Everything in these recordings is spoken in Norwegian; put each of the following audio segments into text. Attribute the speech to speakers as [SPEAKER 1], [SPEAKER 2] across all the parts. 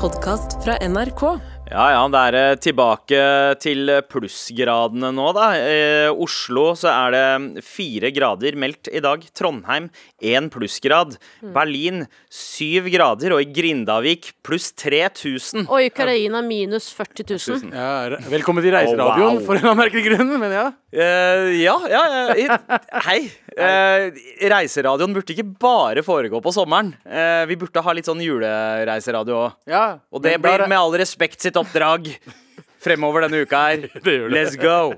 [SPEAKER 1] podkast fra NRK.
[SPEAKER 2] Ja, ja, det er eh, tilbake til plussgradene nå, da. Eh, Oslo så er det fire grader meldt i dag. Trondheim én plussgrad. Berlin syv grader. Og i Grindavik pluss 3000.
[SPEAKER 3] Og Ukraina minus 40 000.
[SPEAKER 2] Tusen.
[SPEAKER 4] Ja, re- velkommen til Reiseradioen,
[SPEAKER 2] Oh, wow.
[SPEAKER 4] for en eller annen merkelig grunn. Men ja.
[SPEAKER 2] Eh, ja, ja, ja. i- Hei. Eh, reiseradioen burde ikke bare foregå på sommeren. Eh, vi burde ha litt sånn julereiseradio òg.
[SPEAKER 4] ja.
[SPEAKER 2] Og det
[SPEAKER 4] Men der
[SPEAKER 2] blir
[SPEAKER 4] er-
[SPEAKER 2] med all respekt sitt oppdrag fremover denne uka her.
[SPEAKER 4] gjør det.
[SPEAKER 2] Let's go!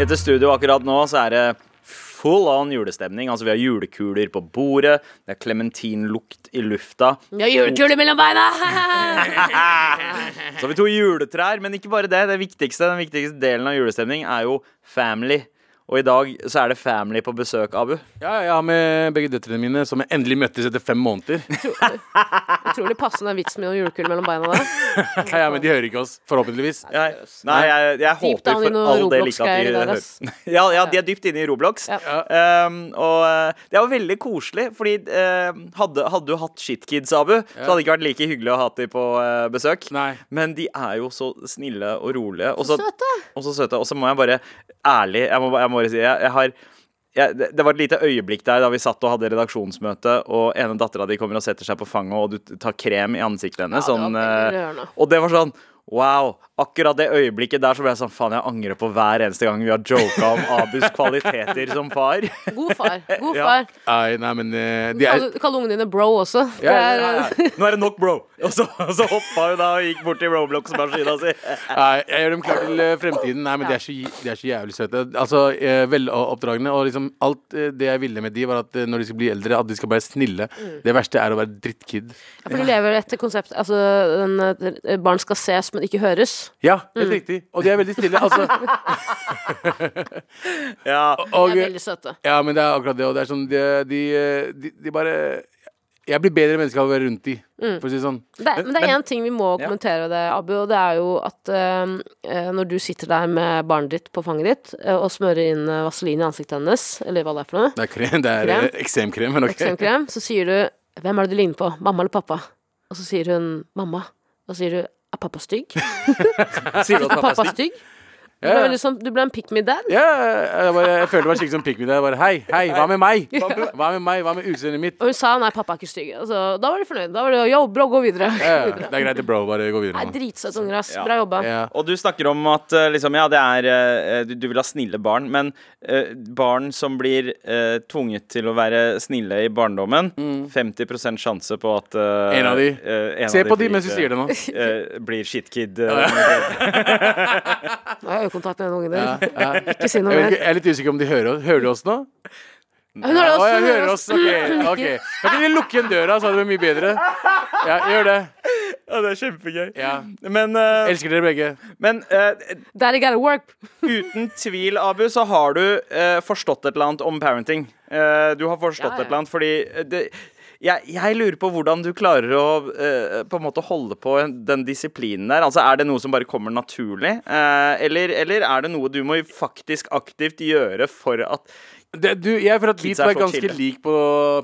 [SPEAKER 2] I dette studioet akkurat nå så er det full on julestemning. Altså Vi har julekuler på bordet, det er klementinlukt i lufta.
[SPEAKER 3] Vi har julekule mellom beina!
[SPEAKER 2] Så har vi to juletrær, men ikke bare det. Det viktigste, Den viktigste delen av julestemning er jo family. Og i dag så er det family på besøk, Abu.
[SPEAKER 4] Ja, jeg har med begge døtrene mine, som jeg endelig møttes etter fem måneder.
[SPEAKER 3] Utrolig passende vits med noen julekule mellom beina der.
[SPEAKER 4] Ja, ja, Men de hører ikke oss, forhåpentligvis.
[SPEAKER 2] Nei, nei jeg, jeg
[SPEAKER 3] Deep
[SPEAKER 2] håper
[SPEAKER 3] down i
[SPEAKER 2] for
[SPEAKER 3] noe
[SPEAKER 2] all del ikke at de
[SPEAKER 3] Roblox-greier der,
[SPEAKER 2] hører
[SPEAKER 3] ass.
[SPEAKER 2] ja, ja, de er dypt inne i Roblox.
[SPEAKER 3] Ja.
[SPEAKER 2] Um, og eh, det er jo veldig koselig, fordi eh, hadde, hadde du hatt shitkids, Abu, så hadde det ikke vært like hyggelig å ha hatt de på eh, besøk.
[SPEAKER 4] Nei.
[SPEAKER 2] Men de er jo så snille og rolige. Og så
[SPEAKER 3] søte.
[SPEAKER 2] Og så søte. Og så må jeg bare ærlig Jeg må, ba- jeg må bare si jeg, jeg har jeg, det det var et lite øyeblikk der da vi satt og hadde redaksjonsmøte, og ene dattera di kommer og setter seg på fanget, og du t- tar krem i ansiktet hennes.
[SPEAKER 3] Ja, det var
[SPEAKER 2] sånn,
[SPEAKER 3] veldig
[SPEAKER 2] eh,
[SPEAKER 3] rørende.
[SPEAKER 2] og det var sånn Wow! Akkurat det øyeblikket der så ble jeg sånn Faen, jeg angrer på hver eneste gang vi har joka om Abus kvaliteter som far.
[SPEAKER 3] God far. God
[SPEAKER 2] Ja.
[SPEAKER 3] far.
[SPEAKER 4] Nei, nei, men eh, de er
[SPEAKER 3] Kall, kall ungene dine bro også. Altså, Det
[SPEAKER 4] Ja, ja,
[SPEAKER 3] er,
[SPEAKER 4] ja, ja.
[SPEAKER 2] Nå er det nok, bro! Og så, og så hoppa hun da og gikk bort til Roblox-maskina si.
[SPEAKER 4] Nei, jeg gjør dem klar til eh, fremtiden. Nei, men de er så, de er så jævlig søte. Altså, eh, Veloppdragne. Og liksom alt eh, det jeg ville med de, var at eh, når de skal bli eldre, at de skal være snille. Det verste er å være drittkid.
[SPEAKER 3] Ja, For de lever etter konsept Altså, den, eh, barn skal ses, men ikke høres.
[SPEAKER 4] Ja, helt riktig. Og de er veldig snille. Altså,
[SPEAKER 2] Ja.
[SPEAKER 3] De
[SPEAKER 4] og,
[SPEAKER 3] er veldig søte.
[SPEAKER 4] ja, men det er akkurat det. Og det er sånn, de, de, eh, de, de bare Jeg blir bedre menneske av å være rundt de, for å si det sånn.
[SPEAKER 3] Det er, men det er én ting vi må
[SPEAKER 2] Ja.
[SPEAKER 3] kommentere, det, Abu, og det er jo at eh, når du sitter der med barnet ditt på fanget ditt eh, og smører inn eh, vaselin i ansiktet hennes, eller hva det er for noe,
[SPEAKER 4] Det er, krem, det er eh, eksemkrem, men ok.
[SPEAKER 3] eksemkrem, så sier du 'Hvem er det du ligner på? Mamma eller pappa?' Og så sier hun 'Mamma'. Og så sier du 'Er pappa stygg?'
[SPEAKER 2] Sier du at pappa
[SPEAKER 3] Pappa
[SPEAKER 2] er stygg?
[SPEAKER 3] stygg? Du
[SPEAKER 4] Ja,
[SPEAKER 3] ble,
[SPEAKER 4] ja.
[SPEAKER 3] veldig sånn, du ble en pick me dad.
[SPEAKER 4] Ja, jeg, bare, jeg føler meg skikkelig som pick me. Jeg bare hei, hei, hva med meg? Hva med meg, hva med utseendet mitt?
[SPEAKER 3] Og hun sa 'Nei, pappa er ikke stygg'. Altså, da var de fornøyd. Da var det 'Yo, bro, gå videre'.
[SPEAKER 4] Ja, ja, det er greit, det, bro. Bare gå videre
[SPEAKER 3] Nei,
[SPEAKER 4] nå.
[SPEAKER 3] Dritsøte unger, ass.
[SPEAKER 2] Ja.
[SPEAKER 3] Bra jobba.
[SPEAKER 4] Ja.
[SPEAKER 2] Og du snakker om at eh, liksom, ja, det er, eh, du, du vil ha snille barn, men eh, barn som blir eh, tvunget til å være snille i barndommen 50 sjanse på at eh,
[SPEAKER 4] En av de.
[SPEAKER 2] eh, en
[SPEAKER 4] Se
[SPEAKER 2] av
[SPEAKER 4] på
[SPEAKER 2] blir,
[SPEAKER 4] de mens du
[SPEAKER 2] eh,
[SPEAKER 4] sier det nå.
[SPEAKER 2] eh, blir shitkid. eh,
[SPEAKER 3] Nå har jeg øyekontakt med den ungen
[SPEAKER 4] Ja,
[SPEAKER 3] der.
[SPEAKER 4] ja. Jeg,
[SPEAKER 3] Ikke si noe
[SPEAKER 4] vet
[SPEAKER 3] mer.
[SPEAKER 4] ikke, jeg er litt usikker om de hører oss. Hører de oss nå?
[SPEAKER 3] Hun har det
[SPEAKER 4] Å,
[SPEAKER 3] også.
[SPEAKER 4] jeg
[SPEAKER 3] hun
[SPEAKER 4] hører
[SPEAKER 3] det
[SPEAKER 4] oss. Ok. ok Kan ikke de lukke igjen døra, så hadde det vært mye bedre? Ja, gjør det.
[SPEAKER 2] ja, det er kjempegøy.
[SPEAKER 4] Ja.
[SPEAKER 2] Men, eh,
[SPEAKER 4] Elsker dere begge.
[SPEAKER 2] men eh,
[SPEAKER 3] Daddy gotta work.
[SPEAKER 2] uten tvil, Abu, så har du eh, forstått et eller annet om parenting. Eh, du har forstått
[SPEAKER 3] Ja, ja.
[SPEAKER 2] et eller annet, fordi eh, det, jeg, jeg lurer på hvordan du klarer å eh, på en måte holde på den disiplinen der. Altså, Er det noe som bare kommer naturlig, Eh, eller, eller er det noe du må faktisk aktivt gjøre for at
[SPEAKER 4] Det, du, jeg føler at vi
[SPEAKER 2] Kids
[SPEAKER 4] to
[SPEAKER 2] er
[SPEAKER 4] er
[SPEAKER 2] så
[SPEAKER 4] ganske
[SPEAKER 2] chille.
[SPEAKER 4] lik på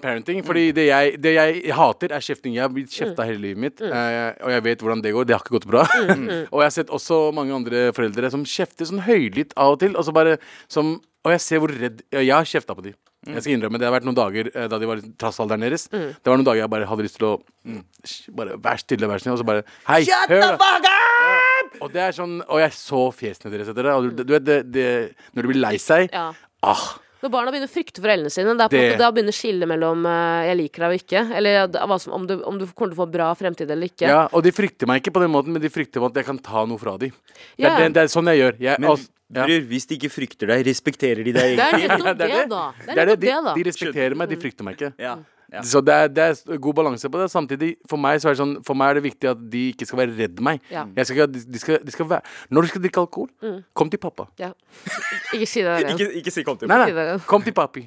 [SPEAKER 4] parenting.
[SPEAKER 2] Mm.
[SPEAKER 4] Fordi det jeg, det jeg hater, er kjefting. Jeg har blitt kjefta hele livet
[SPEAKER 2] Mm.
[SPEAKER 4] mitt, eh, og jeg vet hvordan det går. Det har ikke gått bra. og jeg har sett også mange andre foreldre som kjefter sånn høylytt av og til. Og, så bare, som, og jeg ser hvor redd ja, Jeg har kjefta på de.
[SPEAKER 2] Mm.
[SPEAKER 4] Jeg skal innrømme, Det har vært noen dager eh, da de var i trassalderen deres. Det var noen dager jeg bare hadde lyst til å mm, sh- Bare Vær stille, vær snill. Og så bare Hei, hør! da!» Og det er sånn Og jeg så fjesene deres etter det. Og
[SPEAKER 2] Mm.
[SPEAKER 4] du, du vet, det, det, når du blir lei seg
[SPEAKER 3] Ja.
[SPEAKER 4] Ah!
[SPEAKER 3] Når barna begynner å frykte foreldrene sine, det er på en måte
[SPEAKER 4] Det-
[SPEAKER 3] da begynner skillet mellom eh, 'jeg liker deg' og ikke. Eller ja, hva som, om, du, om du kommer til å få bra fremtid eller ikke.
[SPEAKER 4] Ja, og de frykter meg ikke på den måten, men de frykter at jeg kan ta noe fra dem. Det,
[SPEAKER 3] Ja.
[SPEAKER 4] er det, det er sånn jeg gjør. Jeg,
[SPEAKER 2] Men
[SPEAKER 4] altså, ja.
[SPEAKER 2] bror, hvis de ikke frykter deg, respekterer de deg
[SPEAKER 3] Det er
[SPEAKER 2] egentlig?
[SPEAKER 3] nettopp
[SPEAKER 4] Ja,
[SPEAKER 3] det, da. Det er
[SPEAKER 4] det,
[SPEAKER 3] nettopp
[SPEAKER 4] de,
[SPEAKER 3] det, da.
[SPEAKER 4] de respekterer meg, de frykter meg ikke.
[SPEAKER 2] Ja. Ja.
[SPEAKER 4] Så det er, det er god balanse på det. Samtidig, for meg, så er det sånn, for meg er det viktig at de ikke skal være redd meg.
[SPEAKER 3] Ja. Mm.
[SPEAKER 4] Jeg skal, ikke ha- de, de skal, de skal være, når du skal drikke alkohol, kom til pappa.
[SPEAKER 3] Ja. Ikke si det der igjen.
[SPEAKER 2] Ikke, ikke si kom til
[SPEAKER 4] Nei,
[SPEAKER 3] Ikke
[SPEAKER 4] nei.
[SPEAKER 3] det.
[SPEAKER 4] Kom til papi.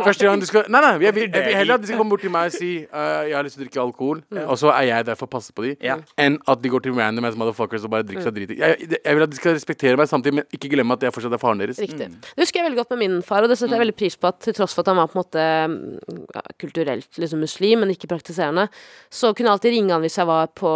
[SPEAKER 4] Første gang du skal Nei, nei. Jeg vil, jeg vil
[SPEAKER 2] deg.
[SPEAKER 4] heller at de skal komme bort til meg og si uh, jeg har lyst til å drikke alkohol,
[SPEAKER 3] Mm.
[SPEAKER 4] og så er jeg der for å passe på de,
[SPEAKER 2] Ja.
[SPEAKER 4] enn at de går til random ass motherfuckers og bare drikker
[SPEAKER 3] Mm.
[SPEAKER 4] seg drit i. Jeg, jeg vil at de skal respektere meg samtidig, men ikke glemme at jeg fortsatt er faren deres.
[SPEAKER 3] Riktig.
[SPEAKER 2] Mm.
[SPEAKER 3] Det husker jeg veldig godt med min far, og det setter jeg veldig pris på at til tross for at han var på en måte mm, ja, kulturelt liksom muslim, men ikke praktiserende, så kunne jeg alltid ringe han hvis jeg var på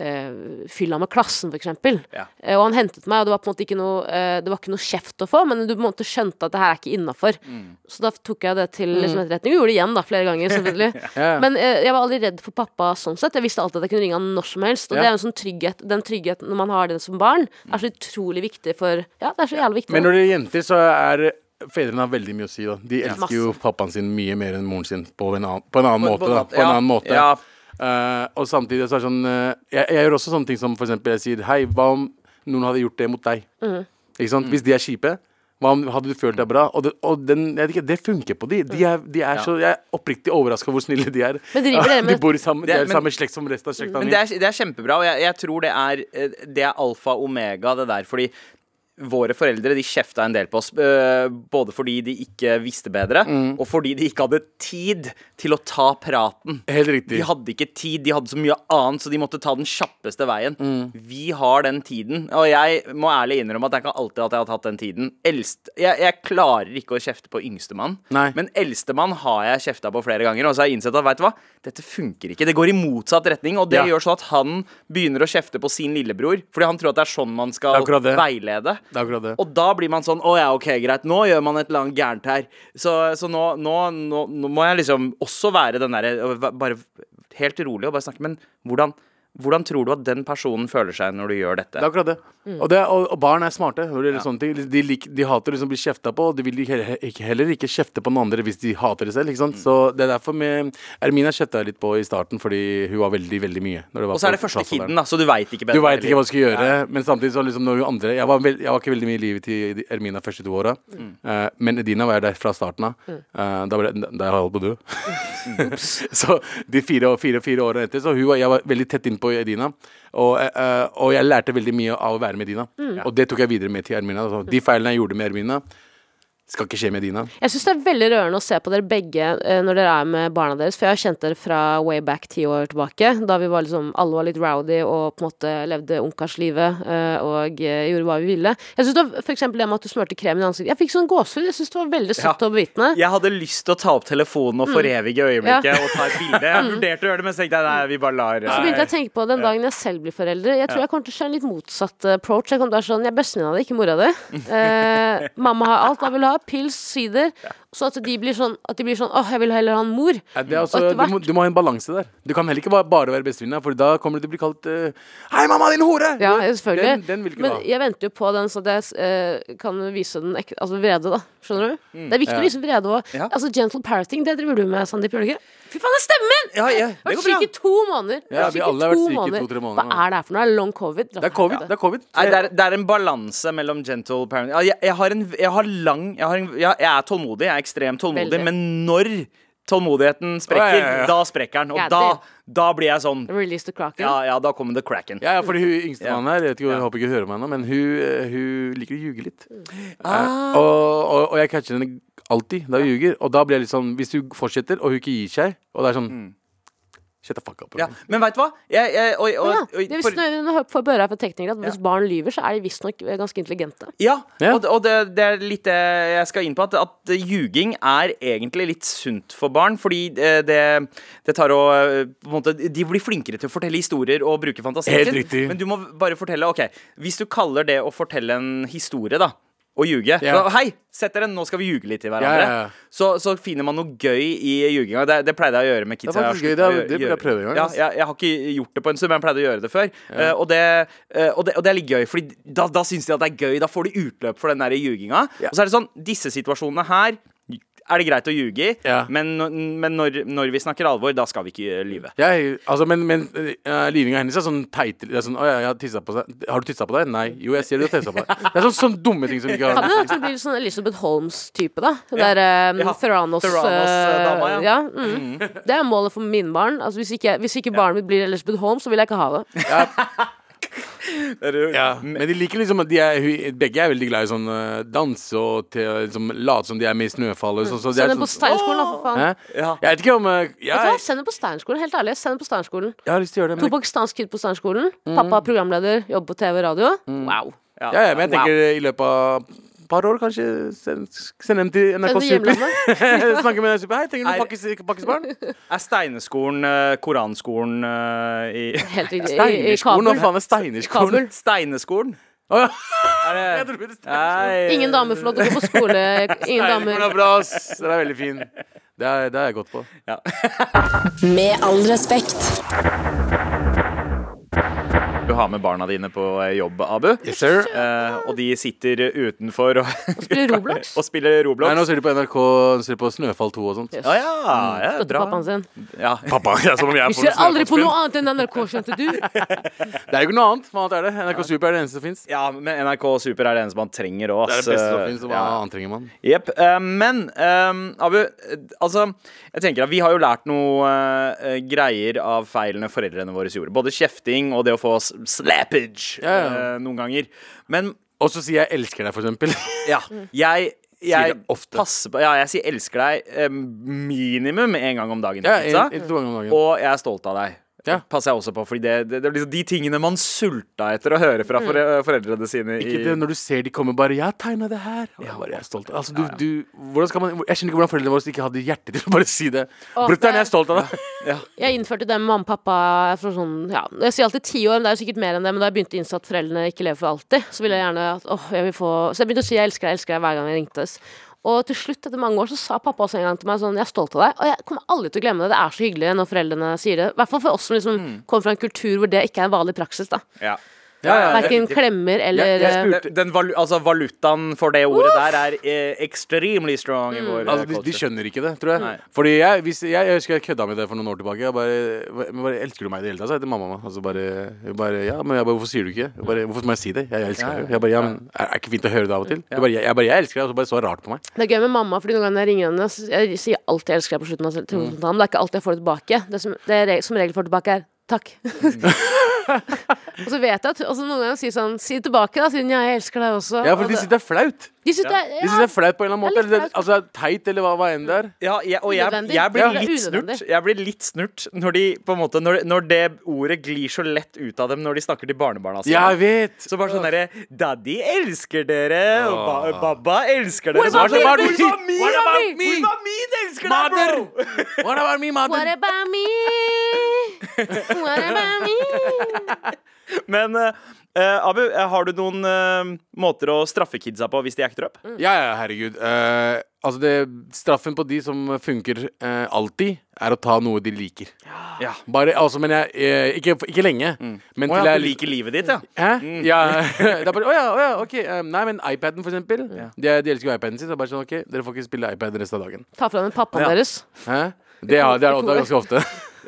[SPEAKER 3] eh, fylla med klassen, for eksempel.
[SPEAKER 2] Ja.
[SPEAKER 3] Eh, og han hentet meg, og det var på en måte ikke noe, eh, det var ikke noe kjeft å få, men du på en måte skjønte at det her er ikke innafor.
[SPEAKER 2] Mm.
[SPEAKER 3] Så da tok jeg det til liksom, etterretning. Vi gjorde det igjen da, flere ganger, selvfølgelig.
[SPEAKER 4] Ja.
[SPEAKER 3] Men eh, jeg var aldri redd for pappa sånn sett. Jeg visste alltid at jeg kunne ringe han når som helst. Og
[SPEAKER 4] Ja.
[SPEAKER 3] det er jo en sånn trygghet, den tryggheten når man har den som barn, er så utrolig viktig for Ja, det er så jævlig viktig.
[SPEAKER 4] Men når det er jenter, så er Fedrene har veldig mye å si. da De
[SPEAKER 3] Masse.
[SPEAKER 4] elsker jo pappaen sin mye mer enn moren sin, på en annen, på en annen
[SPEAKER 2] På-
[SPEAKER 4] måte.
[SPEAKER 2] på en måte,
[SPEAKER 4] da På en
[SPEAKER 2] ja.
[SPEAKER 4] annen måte
[SPEAKER 2] Ja.
[SPEAKER 4] Eh, Og samtidig så er det sånn eh, jeg, jeg gjør også sånne ting som for eksempel jeg sier Hei, hva om noen hadde gjort det mot deg?
[SPEAKER 3] Mm.
[SPEAKER 4] Ikke sant? Hvis de er kjipe, hva om hadde du følt deg bra? Og det, og den, jeg vet ikke, det funker på de. De er, de er så, Jeg er oppriktig overraska hvor snille de er.
[SPEAKER 3] Mm. Men driver dere med-
[SPEAKER 4] de bor i samme,
[SPEAKER 2] Det
[SPEAKER 4] de
[SPEAKER 2] er-
[SPEAKER 4] er i
[SPEAKER 2] men-
[SPEAKER 4] samme slekt som resten av slekta
[SPEAKER 2] Men
[SPEAKER 4] mi.
[SPEAKER 2] det er, det er kjempebra, og jeg, jeg tror det er, eh, det er alfa og omega, det der. Fordi våre foreldre de kjefta en del på oss, eh, både fordi de ikke visste bedre,
[SPEAKER 4] Mm.
[SPEAKER 2] og fordi de ikke hadde tid til å ta praten.
[SPEAKER 4] Helt riktig.
[SPEAKER 2] De hadde ikke tid, de hadde så mye annet, så de måtte ta den kjappeste veien.
[SPEAKER 4] Mm.
[SPEAKER 2] Vi har den tiden, og jeg må ærlig innrømme at det er ikke alltid at jeg har tatt den tiden. Eldst, jeg, jeg klarer ikke å kjefte på yngstemann,
[SPEAKER 4] Nei.
[SPEAKER 2] men eldstemann har jeg kjefta på flere ganger, og så har jeg innsett at vet du hva, dette funker ikke. Det går i motsatt retning, og det
[SPEAKER 4] Ja.
[SPEAKER 2] gjør sånn at han begynner å kjefte på sin lillebror, fordi han tror at det er sånn man skal
[SPEAKER 4] Det er akkurat det.
[SPEAKER 2] veilede.
[SPEAKER 4] Det er akkurat det.
[SPEAKER 2] Og da blir man sånn Å ja, ok, greit. Nå gjør man et eller annet gærent her. Så, så nå, nå, nå, nå må jeg liksom også være den derre å væ- Bare helt rolig og bare snakke. Men hvordan, hvordan tror du at den personen føler seg når du gjør
[SPEAKER 4] Det er
[SPEAKER 2] dette? Mm.
[SPEAKER 4] akkurat det. Og, det og, og barn er smarte. Når det gjelder sånne ting. De, lik, de hater liksom å bli kjefta på, og de vil ikke heller, ikke, heller ikke kjefte på noen andre hvis de hater det selv. Ikke
[SPEAKER 2] Mm.
[SPEAKER 4] sant? Så det er derfor med Ermina kjefta jeg litt på i starten, fordi hun var veldig, veldig mye. når det var
[SPEAKER 2] Og så er
[SPEAKER 4] på
[SPEAKER 2] det første
[SPEAKER 4] plassalderen.
[SPEAKER 2] kiden, da, så du veit ikke bedre.
[SPEAKER 4] Du veit ikke hva
[SPEAKER 2] heller.
[SPEAKER 4] du skal gjøre, men samtidig så liksom når hun andre jeg var, veld, jeg var ikke veldig mye i livet til Ermina første to åra,
[SPEAKER 3] Mm.
[SPEAKER 4] eh, men Edina var jeg der fra starten av. Eh, da, ble, da jeg holdt på å dø. så de fire, fire, fire årene etter, så hun, var- jeg var veldig tett innpå Edina. Og, eh, eh, og jeg lærte veldig mye av å være med Edina,
[SPEAKER 3] Mm.
[SPEAKER 4] og det tok jeg videre med til Ermina. Så de feilene jeg gjorde med Ermina, skal ikke skje med Edina.
[SPEAKER 3] Jeg syns det er veldig rørende å se på dere begge eh, når dere er med barna deres, for jeg har kjent dere fra way back ti år tilbake, da vi var liksom alle var litt rowdy og på en måte levde ungkarslivet eh, og eh, gjorde hva vi ville. Jeg syns det var for eksempel det med at du smurte krem i ansiktet. Jeg fikk sånn gåsehud. Jeg syns det var veldig søtt
[SPEAKER 2] Ja.
[SPEAKER 3] å bevitne.
[SPEAKER 2] Jeg hadde lyst til å ta opp telefonen
[SPEAKER 3] Mm.
[SPEAKER 2] og forevige øyeblikket og ta et bilde. Jeg vurderte å gjøre det, men så tenkte jeg nei, vi bare lar
[SPEAKER 3] Så begynte jeg å tenke på den dagen jeg selv blir foreldre. Jeg tror jeg kommer til å skje en litt motsatt eh, approach. Jeg kommer til å være sånn, jeg er bestevenninna di, ikke mora di. Eh, mamma har alt hva vil ha. Pils, sider. Så at de blir sånn, at de blir sånn åh, jeg vil heller ha en mor.
[SPEAKER 4] Ja, det er også,
[SPEAKER 3] Og etter
[SPEAKER 4] du, må,
[SPEAKER 3] hvert-
[SPEAKER 4] du må ha en balanse der. Du kan heller ikke bare, bare være bestevenninna, for da kommer du til å bli kalt eh, Hei, mamma, din hore!
[SPEAKER 3] Ja, selvfølgelig.
[SPEAKER 4] Den, den vil ikke du
[SPEAKER 3] Men
[SPEAKER 4] ha.
[SPEAKER 3] jeg venter jo på den, så at jeg eh, kan vise den ek altså vrede, da. Skjønner du?
[SPEAKER 4] Mm.
[SPEAKER 3] Det er viktig å vise vrede òg.
[SPEAKER 2] Ja.
[SPEAKER 3] Altså, gentle parenting, det driver du med, Sandeep, gjør du ikke? Fy faen, det stemmer!
[SPEAKER 2] Ja, ja, det
[SPEAKER 3] Vært
[SPEAKER 2] går bra.
[SPEAKER 3] syk i to måneder.
[SPEAKER 4] Ja,
[SPEAKER 3] Vært
[SPEAKER 4] vi
[SPEAKER 3] syk i
[SPEAKER 4] alle har vært
[SPEAKER 3] to
[SPEAKER 4] syke i
[SPEAKER 3] måneder.
[SPEAKER 4] to-tre måneder nå.
[SPEAKER 3] Hva er det her for noe? Er det Long covid?
[SPEAKER 4] Det er covid. Det er covid.
[SPEAKER 2] Nei, det, er, det er en balanse mellom gentle parenting Ja, jeg, jeg, har en, jeg har lang jeg, har en, jeg, jeg er tålmodig, jeg er ekstremt tålmodig,
[SPEAKER 3] Veldig.
[SPEAKER 2] men når tålmodigheten sprekker,
[SPEAKER 4] Ja, ja, ja.
[SPEAKER 2] da sprekker den. Og
[SPEAKER 3] Ja, det-
[SPEAKER 2] da, da blir jeg sånn
[SPEAKER 3] Release the kraken.
[SPEAKER 2] Ja, ja, da kommer the cracken.
[SPEAKER 4] Ja, ja, fordi hun yngstemann her, jeg, vet ikke, jeg
[SPEAKER 2] Ja.
[SPEAKER 4] håper ikke hun hører meg nå, men hun, eh, hun liker å ljuge litt. Eh, og, og, og jeg catcher henne alltid da hun ljuger. Og da blir jeg litt sånn Hvis hun fortsetter, og hun ikke gir seg, og det er sånn Shut the fuck up. altså.
[SPEAKER 2] Ja, Men veit du hva? Jeg, jeg, og, og,
[SPEAKER 3] Ja,
[SPEAKER 2] og,
[SPEAKER 3] det er
[SPEAKER 2] for-
[SPEAKER 3] visst, nå hø- får jeg høre her fra teknikere at hvis barn lyver, så er de visstnok eh, ganske intelligente.
[SPEAKER 2] Ja,
[SPEAKER 4] Ja.
[SPEAKER 2] og, og det, det er litt det jeg skal inn på, at, at ljuging er egentlig litt sunt for barn. Fordi det, det, det tar å eh, på en måte, De blir flinkere til å fortelle historier og bruke fantasien
[SPEAKER 4] Helt riktig.
[SPEAKER 2] Men du må bare fortelle. ok, Hvis du kaller det å fortelle en historie, da å ljuge.
[SPEAKER 4] Ja.
[SPEAKER 2] Så, Hei, sett dere, nå skal vi ljuge litt til
[SPEAKER 4] Ja,
[SPEAKER 2] hverandre.
[SPEAKER 4] ja, ja.
[SPEAKER 2] Så, så finner man noe gøy i ljuginga. Det, det pleide jeg å gjøre med kids.
[SPEAKER 4] Det er faktisk
[SPEAKER 2] Jeg har
[SPEAKER 4] gøy.
[SPEAKER 2] sluttet å
[SPEAKER 4] Det er- det burde jeg
[SPEAKER 2] gjøre-
[SPEAKER 4] prøve en gang, altså.
[SPEAKER 2] Ja,
[SPEAKER 4] ass.
[SPEAKER 2] jeg, jeg har ikke gjort det på en stund, men jeg pleide å gjøre det før. Eh, og, det, eh, og, det, og det er litt gøy, Fordi da, da syns de at det er gøy. Da får de utløp for den der ljuginga. Og så er det sånn, disse situasjonene her er det greit å ljuge i,
[SPEAKER 4] Ja.
[SPEAKER 2] men, no- men når, når vi snakker alvor, da skal vi ikke lyve.
[SPEAKER 4] Jeg, altså, men men eh, livinga hennes er sånn teit det er sånn, å, ja, jeg har, tisset på seg. har du tissa på deg? Nei. Jo, jeg ser du har tissa på deg. Det er sånn, sånn dumme ting som ikke
[SPEAKER 3] Kan
[SPEAKER 4] har
[SPEAKER 3] jo også bli litt sånn Elizabeth Holmes-type, da. Den der um,
[SPEAKER 2] Ja.
[SPEAKER 3] Theranos,
[SPEAKER 2] Theranos-dama,
[SPEAKER 3] eh,
[SPEAKER 2] ja.
[SPEAKER 3] ja. Mm. Det er målet for mine barn. Altså, hvis ikke, hvis ikke barnet mitt blir Elizabeth Holmes, så vil jeg ikke ha det.
[SPEAKER 2] Er du-
[SPEAKER 4] ja. Men de liker liksom at de er, hun- begge er veldig glad i sånn eh, dans og te, liksom, late som de er med i Snøfall. og sånn, så de
[SPEAKER 3] Send
[SPEAKER 4] er
[SPEAKER 3] den på
[SPEAKER 4] sånn-
[SPEAKER 3] Steinerskolen, da, for faen.
[SPEAKER 4] Hæ?
[SPEAKER 2] Ja.
[SPEAKER 4] Jeg vet ikke om eh,
[SPEAKER 3] Vet du hva,
[SPEAKER 4] jeg,
[SPEAKER 3] Send den på Steinerskolen. Helt ærlig, send den på Steinerskolen.
[SPEAKER 4] jeg har lyst til å gjøre det.
[SPEAKER 3] To
[SPEAKER 4] Men,
[SPEAKER 3] pakistanske kid på Steinerskolen. Pappa er programleder, jobber på TV og radio.
[SPEAKER 2] Mm.
[SPEAKER 3] Wow.
[SPEAKER 2] Ja.
[SPEAKER 4] ja, ja, men jeg tenker i løpet av et par år, kanskje. Send, send dem til
[SPEAKER 3] Send
[SPEAKER 4] NRK
[SPEAKER 3] den til
[SPEAKER 4] Super.
[SPEAKER 3] hjemlandet.
[SPEAKER 4] Snakke med deg, Super. Hei, trenger
[SPEAKER 2] Er-
[SPEAKER 4] du pakkes, pakkesbarn?
[SPEAKER 2] Er steineskolen eh, koranskolen eh, i
[SPEAKER 3] Helt riktig. I, i
[SPEAKER 4] Steinerskolen? Hva
[SPEAKER 3] Kabul.
[SPEAKER 4] faen er Steinerskolen?
[SPEAKER 2] Steineskolen?
[SPEAKER 4] Å, ja.
[SPEAKER 2] Er
[SPEAKER 4] Jeg
[SPEAKER 2] det
[SPEAKER 4] tror det er Steinerskolen.
[SPEAKER 2] Nei.
[SPEAKER 3] Ingen damer får lov til å gå på skole. Ingen
[SPEAKER 4] Steinerskolen
[SPEAKER 3] damer.
[SPEAKER 4] er bra, ass. Den er veldig fin. Det er, det er jeg godt på.
[SPEAKER 1] Med all respekt.
[SPEAKER 2] Du har med barna dine på eh, jobb, Abu.
[SPEAKER 4] Yes, sir.
[SPEAKER 2] Eh, og de sitter utenfor og,
[SPEAKER 3] Spiller Roblox.
[SPEAKER 2] og spiller Roblox.
[SPEAKER 4] Nei, nå ser de på NRK ser de på Snøfall 2 og sånt.
[SPEAKER 3] Yes.
[SPEAKER 2] Å ja, ja,
[SPEAKER 3] Støtter
[SPEAKER 2] bra.
[SPEAKER 3] Mm. pappaen sin.
[SPEAKER 2] Ja.
[SPEAKER 4] Pappa, det er som om jeg
[SPEAKER 3] Vi ser aldri på noe annet enn NRK, skjønte du?
[SPEAKER 4] Det er jo ikke noe annet. Hva annet er det? NRK Super er det eneste som fins.
[SPEAKER 2] ja, men NRK Super er det eneste man trenger òg.
[SPEAKER 4] Det er det beste som fins. Hva annet trenger man?
[SPEAKER 2] Jepp. eh, men eh, Abu, eh, altså Jeg tenker at vi har jo lært noe eh, greier av feilene foreldrene våre gjorde. Både kjefting og det å få s- slappage
[SPEAKER 4] Ja,
[SPEAKER 2] eh, noen ganger. Men
[SPEAKER 4] Og så sier jeg 'elsker deg', for eksempel.
[SPEAKER 2] ja,
[SPEAKER 3] Mm.
[SPEAKER 2] jeg jeg
[SPEAKER 4] det ofte.
[SPEAKER 2] passer på Ja, jeg sier 'elsker deg' eh, minimum én gang om dagen.
[SPEAKER 4] Ja,
[SPEAKER 2] ikke sant?
[SPEAKER 4] en, en, to ganger om dagen.
[SPEAKER 2] Og jeg er stolt av deg.
[SPEAKER 4] Ja.
[SPEAKER 2] Passer jeg også på, fordi det, det, det er liksom de tingene man sulta etter å høre
[SPEAKER 3] Mm.
[SPEAKER 2] fra fore, foreldrene sine. I,
[SPEAKER 4] Ikke det når du ser de kommer bare 'Jeg har tegna det her'. Og jeg bare, jeg er stolt. Eh, Altså, du, du, hvordan skal man, jeg skjønner ikke hvordan foreldrene våre ikke hadde hjerte til å bare si det.
[SPEAKER 3] Å,
[SPEAKER 4] Brutter'n,
[SPEAKER 3] det-
[SPEAKER 4] jeg er stolt av deg.
[SPEAKER 3] Jeg innførte det med mamma og pappa for sånn, ja, jeg sier alltid ti år, men det er jo sikkert mer enn det, men da jeg begynte å innse at foreldrene ikke lever for alltid, så ville jeg gjerne at, åh, jeg vil få, så jeg begynte å si jeg elsker deg, jeg elsker deg hver gang jeg ringtes. Og til slutt, etter mange år, så sa pappa også en gang til meg sånn, jeg er stolt av deg, og jeg kommer aldri til å glemme det, det er så hyggelig når foreldrene sier det, i hvert fall for oss som liksom kommer fra en kultur hvor det ikke er en vanlig praksis da.
[SPEAKER 2] ja.
[SPEAKER 3] Hverken klemmer eller...
[SPEAKER 4] Jeg- jeg spurte-
[SPEAKER 2] Den, den valu, altså valutaen for det ordet der er eh, extremely strong
[SPEAKER 3] Mm.
[SPEAKER 2] i vår eh,
[SPEAKER 4] Altså, de, de
[SPEAKER 2] culture.
[SPEAKER 4] skjønner ikke det, tror jeg.
[SPEAKER 2] Nei.
[SPEAKER 4] Fordi jeg, hvis, jeg, jeg husker jeg kødda med det for noen år tilbake. Jeg bare, men bare 'Elsker du meg i det hele tatt?' sa jeg til mamma. Og så bare, hun bare 'Ja, men jeg bare, hvorfor sier du ikke?' Jeg bare, 'Hvorfor må jeg si det? Jeg, jeg elsker
[SPEAKER 2] Ja, ja.
[SPEAKER 4] deg.' Jeg bare, ja, men er er ikke fint å høre det av og til? Jeg bare, jeg, jeg, bare, jeg elsker deg, og så bare så rart på meg.
[SPEAKER 3] Det er gøy med mamma, fordi noen ganger når jeg ringer henne, så jeg sier jeg alltid 'elsker deg' på slutten av
[SPEAKER 4] Mm.
[SPEAKER 3] telefonen, men det er ikke alltid jeg får det tilbake. Det som, det jeg re- som regel får tilbake, er 'takk'.
[SPEAKER 4] Mm.
[SPEAKER 3] og så vet jeg at og så noen ganger sier sånn 'si det tilbake', da, siden 'ja, jeg elsker deg også'.
[SPEAKER 4] Ja,
[SPEAKER 3] Og
[SPEAKER 4] for de
[SPEAKER 3] det-
[SPEAKER 4] syns det er flaut.
[SPEAKER 3] de synes det er-
[SPEAKER 4] De syns det er flaut på en eller
[SPEAKER 3] Det
[SPEAKER 4] annen måte.
[SPEAKER 3] er litt
[SPEAKER 4] Eller, det- altså det er teit, eller hva, hva enn det er.
[SPEAKER 2] Ja, jeg, og jeg,
[SPEAKER 3] Unødvendig.
[SPEAKER 2] jeg
[SPEAKER 3] Ja.
[SPEAKER 2] blir litt
[SPEAKER 3] Unødvendig.
[SPEAKER 2] snurt Jeg blir litt snurt når, de, på en måte, når, når det ordet glir så lett ut av dem når de snakker til barnebarna sine.
[SPEAKER 4] Jeg vet!
[SPEAKER 2] Så bare sånn derre Daddy elsker dere, og ba babba elsker dere.
[SPEAKER 3] What
[SPEAKER 2] Så
[SPEAKER 3] about
[SPEAKER 2] bare
[SPEAKER 3] me?
[SPEAKER 2] sånn, What about me?
[SPEAKER 4] What about me?
[SPEAKER 2] What about me? Elsker deg,
[SPEAKER 4] Mother!
[SPEAKER 2] bro!
[SPEAKER 4] What about me, mother?
[SPEAKER 3] What about me? What about me?
[SPEAKER 2] Men eh, eh, Abu, eh, har du noen eh, måter å straffe kidsa på hvis de acter up?
[SPEAKER 4] Ja, ja, herregud. Eh, altså det, straffen på de som funker eh, alltid, er å ta noe de liker.
[SPEAKER 2] Ja.
[SPEAKER 4] Bare, altså, men jeg, eh, ikke, ikke lenge. Men
[SPEAKER 2] Å
[SPEAKER 4] til
[SPEAKER 2] ja,
[SPEAKER 4] jeg
[SPEAKER 2] du liker livet ditt, ja.
[SPEAKER 4] Hæ? Ja. det er bare, å ja, å ja, ok. eh, nei, men iPaden, for eksempel. De, de elsker jo iPaden sin. Så det er bare sånn, ok, dere får ikke spille iPad resten av dagen.
[SPEAKER 3] Ta fra dem pappaen
[SPEAKER 2] Ja.
[SPEAKER 3] deres.
[SPEAKER 4] Hæ? Det, ja, det er det er ganske ofte.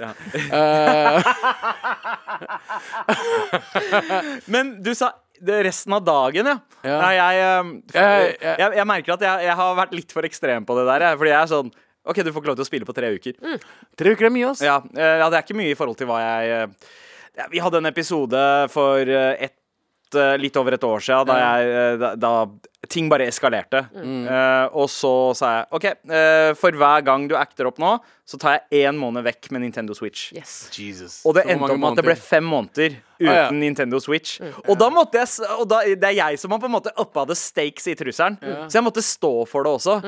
[SPEAKER 2] Men du sa det er resten av dagen, ja.
[SPEAKER 4] Ja.
[SPEAKER 2] Nei, jeg, eh,
[SPEAKER 4] Jeg- jeg-
[SPEAKER 2] jeg, jeg merker at jeg, jeg har vært litt for ekstrem på det der. Jeg, fordi jeg er sånn OK, du får ikke lov til å spille på tre uker.
[SPEAKER 4] Tre uker er mye, ass.
[SPEAKER 2] Ja, eh, ja, det er ikke mye i forhold til hva jeg eh, ja, Vi hadde en episode for eh, et, eh, litt over et år siden da, jeg, eh, da, da ting bare eskalerte. Eh, og så sa jeg OK, eh, for hver gang du acter opp nå, så tar jeg én måned vekk med Nintendo Switch.
[SPEAKER 3] Yes.
[SPEAKER 4] Jesus.
[SPEAKER 2] Og det
[SPEAKER 4] Så
[SPEAKER 2] endte
[SPEAKER 4] mange
[SPEAKER 2] opp med at det ble
[SPEAKER 4] måneder.
[SPEAKER 2] fem måneder uten
[SPEAKER 4] Ah, ja.
[SPEAKER 2] Nintendo Switch. Og da måtte jeg s- Og da, det er jeg som har på en måte uppa the stakes i trusselen. Så jeg måtte stå for det også.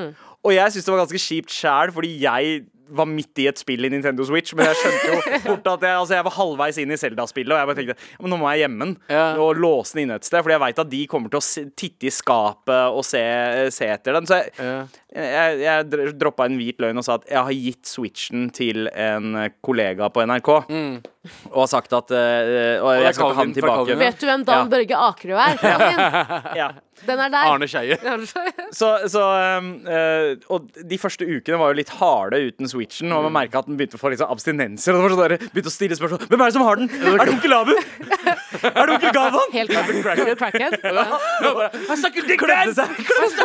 [SPEAKER 2] Og jeg syns det var ganske kjipt sjæl, fordi jeg var midt i et spill i Nintendo Switch, men jeg skjønte jo fort at jeg, altså jeg var halvveis inn i Zelda-spillet, og jeg bare tenkte "Ja, men nå må jeg gjemme den
[SPEAKER 4] Ja.
[SPEAKER 2] og låse den inne et sted, Fordi jeg veit at de kommer til å se- titte i skapet og se, se etter den. Så jeg,
[SPEAKER 4] Ja.
[SPEAKER 2] jeg, jeg dr- droppa en hvit løgn og sa at jeg har gitt switchen til en eh, kollega på NRK. Og har sagt at eh, Og jeg
[SPEAKER 4] det er
[SPEAKER 2] skal ikke ha
[SPEAKER 4] Calvin
[SPEAKER 2] den
[SPEAKER 4] fra Calvin,
[SPEAKER 2] tilbake.
[SPEAKER 4] ja.
[SPEAKER 3] Vet du hvem Dan
[SPEAKER 2] Ja.
[SPEAKER 3] Børge Akerø er? Kongen.
[SPEAKER 2] Ja.
[SPEAKER 3] Den er der.
[SPEAKER 4] Arne Skeie.
[SPEAKER 2] Så, så ehm, eh, Og de første ukene var jo litt harde uten switchen, og man merka at den begynte å få litt sånn abstinenser. Og det var sånn der, begynte å stille spørsmål Hvem er det som har den? Er det onkel Abu? Er det onkel Galvan?
[SPEAKER 3] Helt crackhead. crackhead. Ja.
[SPEAKER 2] Han snakker dick Klødde seg.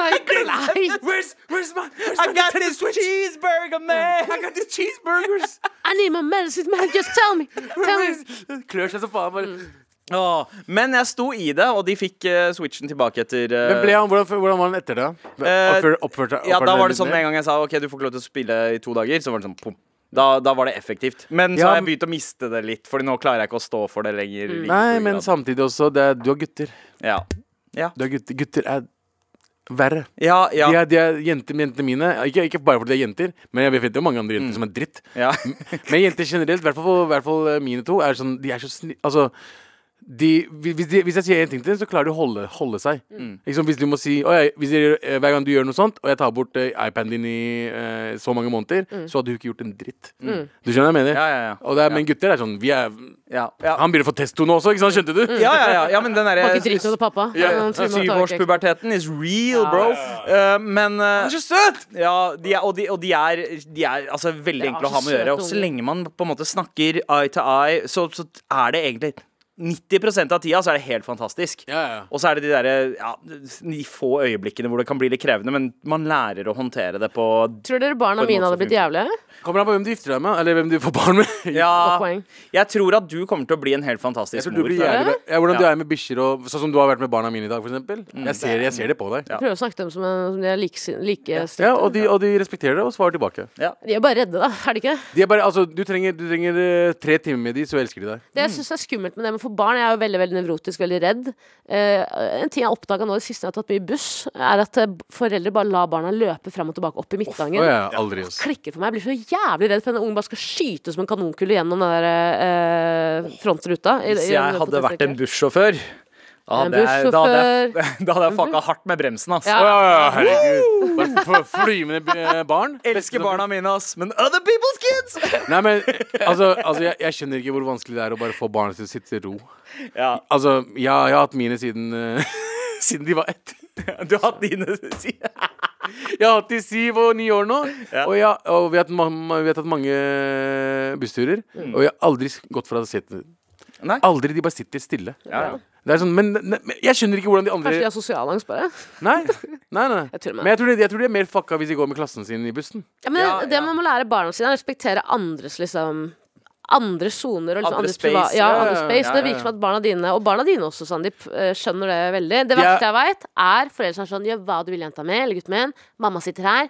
[SPEAKER 3] Nei.
[SPEAKER 4] Where's, where's my, where's
[SPEAKER 2] I got this cheeseburger, man!
[SPEAKER 4] I got these cheeseburgers!
[SPEAKER 3] I need my medicine, man. Just tell me. Tell me.
[SPEAKER 4] Klør seg som faen. bare
[SPEAKER 2] Åh, men jeg sto i det, og de fikk eh, switchen tilbake etter eh,
[SPEAKER 4] Men ble han, hvordan, hvordan var han etter det?
[SPEAKER 2] Eh,
[SPEAKER 4] Oppførte, oppførte,
[SPEAKER 2] Ja, da
[SPEAKER 4] oppførte
[SPEAKER 2] var
[SPEAKER 4] han
[SPEAKER 2] det sånn med
[SPEAKER 4] litt mer?
[SPEAKER 2] en gang jeg sa OK, du får ikke lov til å spille i to dager, så var det sånn pum. Da, da var det effektivt. Men så
[SPEAKER 4] Ja,
[SPEAKER 2] har jeg
[SPEAKER 4] men-
[SPEAKER 2] begynt å miste det litt, Fordi nå klarer jeg ikke å stå for det lenger.
[SPEAKER 3] Mm.
[SPEAKER 2] i like
[SPEAKER 4] Nei,
[SPEAKER 2] stor
[SPEAKER 4] men
[SPEAKER 2] grad.
[SPEAKER 4] samtidig også det er, Du har gutter.
[SPEAKER 2] Ja. Ja.
[SPEAKER 4] Du har gutter. gutter er verre.
[SPEAKER 2] Ja, ja,
[SPEAKER 4] De er, de er jenter, jentene mine. Ikke, ikke bare fordi de er jenter, men jeg vet jo mange
[SPEAKER 2] Mm.
[SPEAKER 4] andre jenter som er dritt.
[SPEAKER 2] ja.
[SPEAKER 4] Men jenter generelt, i hvert fall- i hvert fall mine to, er sånn De er så snill... Altså de, hvis, de, hvis jeg sier én ting til dem, så klarer de å holde, holde seg.
[SPEAKER 2] Mm.
[SPEAKER 4] Liksom, hvis du må si «Å, jeg, hvis jeg, eh, Hver gang du gjør noe sånt, og jeg tar bort eh, iPaden din i eh, så mange måneder, så hadde du ikke gjort en dritt. Du skjønner hva jeg mener?
[SPEAKER 2] Mm. Ja, ja, ja.
[SPEAKER 4] Og det er, Men gutter er sånn vi er,
[SPEAKER 2] ja, ja. Mm.
[SPEAKER 4] Han begynner å få testo nå også, ikke sant? Skjønte du?
[SPEAKER 2] Ja, ja, ja, ja, men den
[SPEAKER 3] Må ikke drite
[SPEAKER 2] derre
[SPEAKER 3] om det, pappa. Han tror man tar ikke-
[SPEAKER 2] Syvårspuberteten is real, bro. Eh, men Han er så søt! Ja, de er, og, de, og de er, de er altså, veldig
[SPEAKER 3] Ja,
[SPEAKER 2] enkle å
[SPEAKER 3] så
[SPEAKER 2] ha med å gjøre.
[SPEAKER 3] søte
[SPEAKER 2] Og så
[SPEAKER 3] unger.
[SPEAKER 2] lenge man på en måte snakker eye to eye, så, så er det egentlig 90 av tida så er det helt fantastisk.
[SPEAKER 4] Ja, ja.
[SPEAKER 2] Og så er det de derre ja, de få øyeblikkene hvor det kan bli litt krevende, men man lærer å håndtere det på
[SPEAKER 3] Tror dere barna mine hadde blitt jævlige?
[SPEAKER 4] Kommer an på hvem du gifter deg med, eller hvem du får barn med.
[SPEAKER 2] Ja,
[SPEAKER 3] Godt poeng.
[SPEAKER 2] jeg tror at du kommer til å bli en helt
[SPEAKER 4] Jeg
[SPEAKER 2] fantastisk
[SPEAKER 4] tror du
[SPEAKER 2] mor.
[SPEAKER 4] blir
[SPEAKER 2] Ja.
[SPEAKER 4] jævlig bra. Ja, hvordan du
[SPEAKER 2] Ja. Mm.
[SPEAKER 4] er med bikkjer og Sånn som du har vært med barna mine i dag, for eksempel. Jeg ser, jeg ser det på deg.
[SPEAKER 3] Prøver å snakke til dem som, en- som de er like, like
[SPEAKER 4] Ja, og de, og de respekterer det og svarer tilbake.
[SPEAKER 3] De er bare redde, da. Er de ikke?
[SPEAKER 4] De er bare, altså, du trenger, du trenger eh, tre timer med de, så elsker de deg.
[SPEAKER 3] Det
[SPEAKER 2] Mm.
[SPEAKER 3] jeg syns er skummelt med det med for barn, jeg er jo veldig veldig nevrotisk, veldig redd. Eh, en ting jeg oppdaga nå det siste jeg har tatt mye buss, er at eh, foreldre bare lar barna løpe frem og tilbake opp i
[SPEAKER 4] Å
[SPEAKER 3] midtgangen.
[SPEAKER 4] ja, aldri ass.
[SPEAKER 3] klikker for meg. Jeg blir så jævlig redd for at den ungen bare skal skyte som en kanonkule gjennom den der eh, frontruta. i-
[SPEAKER 2] Hvis
[SPEAKER 3] i-
[SPEAKER 2] jeg hadde vært en bussjåfør da
[SPEAKER 3] En
[SPEAKER 2] hadde, jeg, da, hadde jeg,
[SPEAKER 3] bussjåfør.
[SPEAKER 2] da hadde jeg fucka hardt med bremsen, ass.
[SPEAKER 3] Ja.
[SPEAKER 4] Å ja, ja, herregud. Bare for- Flyvende eh, barn.
[SPEAKER 2] Elsker barna mine, ass, men other people's kids!
[SPEAKER 4] Nei, men altså, altså jeg, jeg skjønner ikke hvor vanskelig det er å bare få barna til å sitte i ro.
[SPEAKER 2] Ja,
[SPEAKER 4] Altså, ja, jeg har hatt mine siden eh, Siden de var ett.
[SPEAKER 2] du har hatt dine sider.
[SPEAKER 4] Jeg har hatt de syv og ni år nå.
[SPEAKER 2] Ja.
[SPEAKER 4] Og, jeg, og vi, har hatt, ma- vi har tatt mange eh, bussturer. Og jeg har aldri s- gått fra setet.
[SPEAKER 2] Nei.
[SPEAKER 4] Aldri. De bare sitter stille.
[SPEAKER 2] Ja, ja.
[SPEAKER 4] Det er sånn, men, ne- men jeg skjønner ikke hvordan de andre
[SPEAKER 3] Kanskje de har sosialangst, bare.
[SPEAKER 4] Nei, nei, nei.
[SPEAKER 3] Jeg tuller med
[SPEAKER 4] Men jeg tror, de, jeg tror de er mer fucka hvis de går med klassen sin i bussen.
[SPEAKER 3] Ja, men
[SPEAKER 2] Ja,
[SPEAKER 3] det
[SPEAKER 2] ja.
[SPEAKER 3] man må lære barna sine, er å respektere andres liksom andre soner og liksom
[SPEAKER 2] Andre
[SPEAKER 3] andres
[SPEAKER 2] space,
[SPEAKER 3] priva- Ja,
[SPEAKER 2] ja, ja,
[SPEAKER 3] andre
[SPEAKER 2] ja,
[SPEAKER 3] space.
[SPEAKER 2] ja,
[SPEAKER 3] Det
[SPEAKER 2] ja.
[SPEAKER 3] virker som at barna dine, og barna dine også, Sandeep, eh, skjønner det veldig. Det
[SPEAKER 4] Ja.
[SPEAKER 3] verste jeg veit, er foreldre som er sånn Gjør hva du vil, jenta mi, eller gutten min. Mamma sitter her.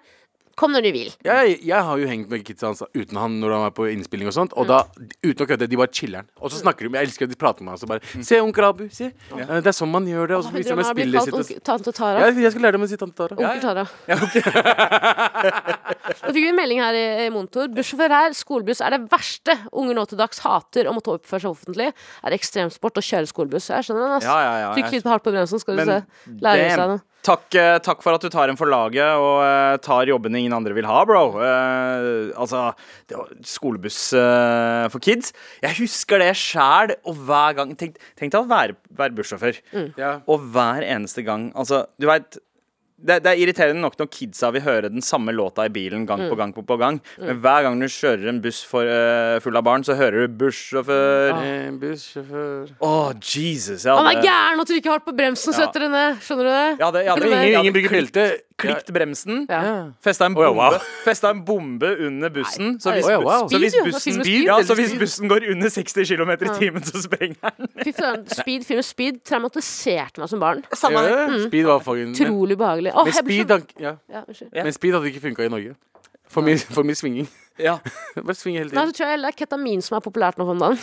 [SPEAKER 3] Kom når du vil.
[SPEAKER 4] Jeg, jeg har jo hengt med kidsa hans uten han når han var på innspilling og sånt. Og
[SPEAKER 3] Mm.
[SPEAKER 4] da, uten å kødde, de bare chiller'n. Og så snakker de Jeg elsker at de prater med meg. Og så
[SPEAKER 3] Mm.
[SPEAKER 4] bare Se, onkel Abu, se. Eh, Det er sånn man gjør det. Og så viser de
[SPEAKER 3] Drømmen
[SPEAKER 4] meg
[SPEAKER 3] har blitt
[SPEAKER 4] spillet
[SPEAKER 3] kalt
[SPEAKER 4] sitt. og s-
[SPEAKER 3] onkel- tante Tara.
[SPEAKER 4] Jeg, jeg skal lære dem å si tante Tara.
[SPEAKER 3] Onkel Tara. Nå fikk vi en melding her i, i monitor. Bussjåfør her, skolebuss er det verste unger nå til dags hater å måtte oppføre seg offentlig. Er ekstremsport å kjøre skolebuss. Jeg skjønner den, ass.
[SPEAKER 2] Ja, ja, ja,
[SPEAKER 3] Trykk
[SPEAKER 2] jeg-
[SPEAKER 3] litt hardt på bremsen, skal du
[SPEAKER 2] Men
[SPEAKER 3] se. Lærer seg
[SPEAKER 2] damn.
[SPEAKER 3] det.
[SPEAKER 2] Takk, eh, takk for at du tar en for laget og eh, tar jobbene ingen andre vil ha, bro. Eh, altså, det var skolebuss eh, for kids. Jeg husker det sjæl, og hver gang Tenk, tenk deg å være, være bussjåfør.
[SPEAKER 3] Mm.
[SPEAKER 4] Ja.
[SPEAKER 2] Og hver eneste gang Altså, du veit det, det er irriterende nok når kidsa vil høre den samme låta i bilen gang
[SPEAKER 3] Mm.
[SPEAKER 2] på gang på, på gang. Men hver gang du kjører en buss for, eh, full av barn, så hører du 'bussjåfør'.
[SPEAKER 3] Ah.
[SPEAKER 2] Å,
[SPEAKER 4] En bussjåfør
[SPEAKER 2] Jesus! Jeg
[SPEAKER 3] Han er
[SPEAKER 2] hadde,
[SPEAKER 3] gæren og trykker hardt på bremsen,
[SPEAKER 2] Ja.
[SPEAKER 3] setter det ned. Skjønner du det?
[SPEAKER 2] jeg hadde, jeg hadde,
[SPEAKER 4] Ingen,
[SPEAKER 2] jeg hadde
[SPEAKER 4] ingen bruker
[SPEAKER 2] klikt-
[SPEAKER 4] belte.
[SPEAKER 2] klikt bremsen.
[SPEAKER 3] Ja.
[SPEAKER 2] Festa en,
[SPEAKER 4] Å, ja,
[SPEAKER 2] bombe,
[SPEAKER 4] wow.
[SPEAKER 2] festa en bombe under bussen. Så
[SPEAKER 3] Nei.
[SPEAKER 2] hvis,
[SPEAKER 4] Å, ja,
[SPEAKER 2] bus-
[SPEAKER 4] wow.
[SPEAKER 2] så hvis
[SPEAKER 3] Speed, jo. Da
[SPEAKER 2] bussen,
[SPEAKER 3] filmer speed.
[SPEAKER 2] ja, så hvis bussen går under 60 km i timen, så sprenger den.
[SPEAKER 3] Fy søren. Speed, filmen Speed traumatiserte meg som barn.
[SPEAKER 4] Ja,
[SPEAKER 3] Mm.
[SPEAKER 4] speed var fucking men,
[SPEAKER 3] Utrolig behagelig. Åh,
[SPEAKER 4] men,
[SPEAKER 3] jeg blir
[SPEAKER 4] speed,
[SPEAKER 3] så...
[SPEAKER 4] han- ja.
[SPEAKER 3] Ja, unnskyld.
[SPEAKER 2] Ja.
[SPEAKER 4] men speed hadde ikke funka i Norge. For mye, for mye svinging.
[SPEAKER 2] Ja.
[SPEAKER 4] Bare svinge hele
[SPEAKER 3] Nei,
[SPEAKER 4] tiden.
[SPEAKER 3] så tror jeg heller det er ketamin som er populært nå om dagen.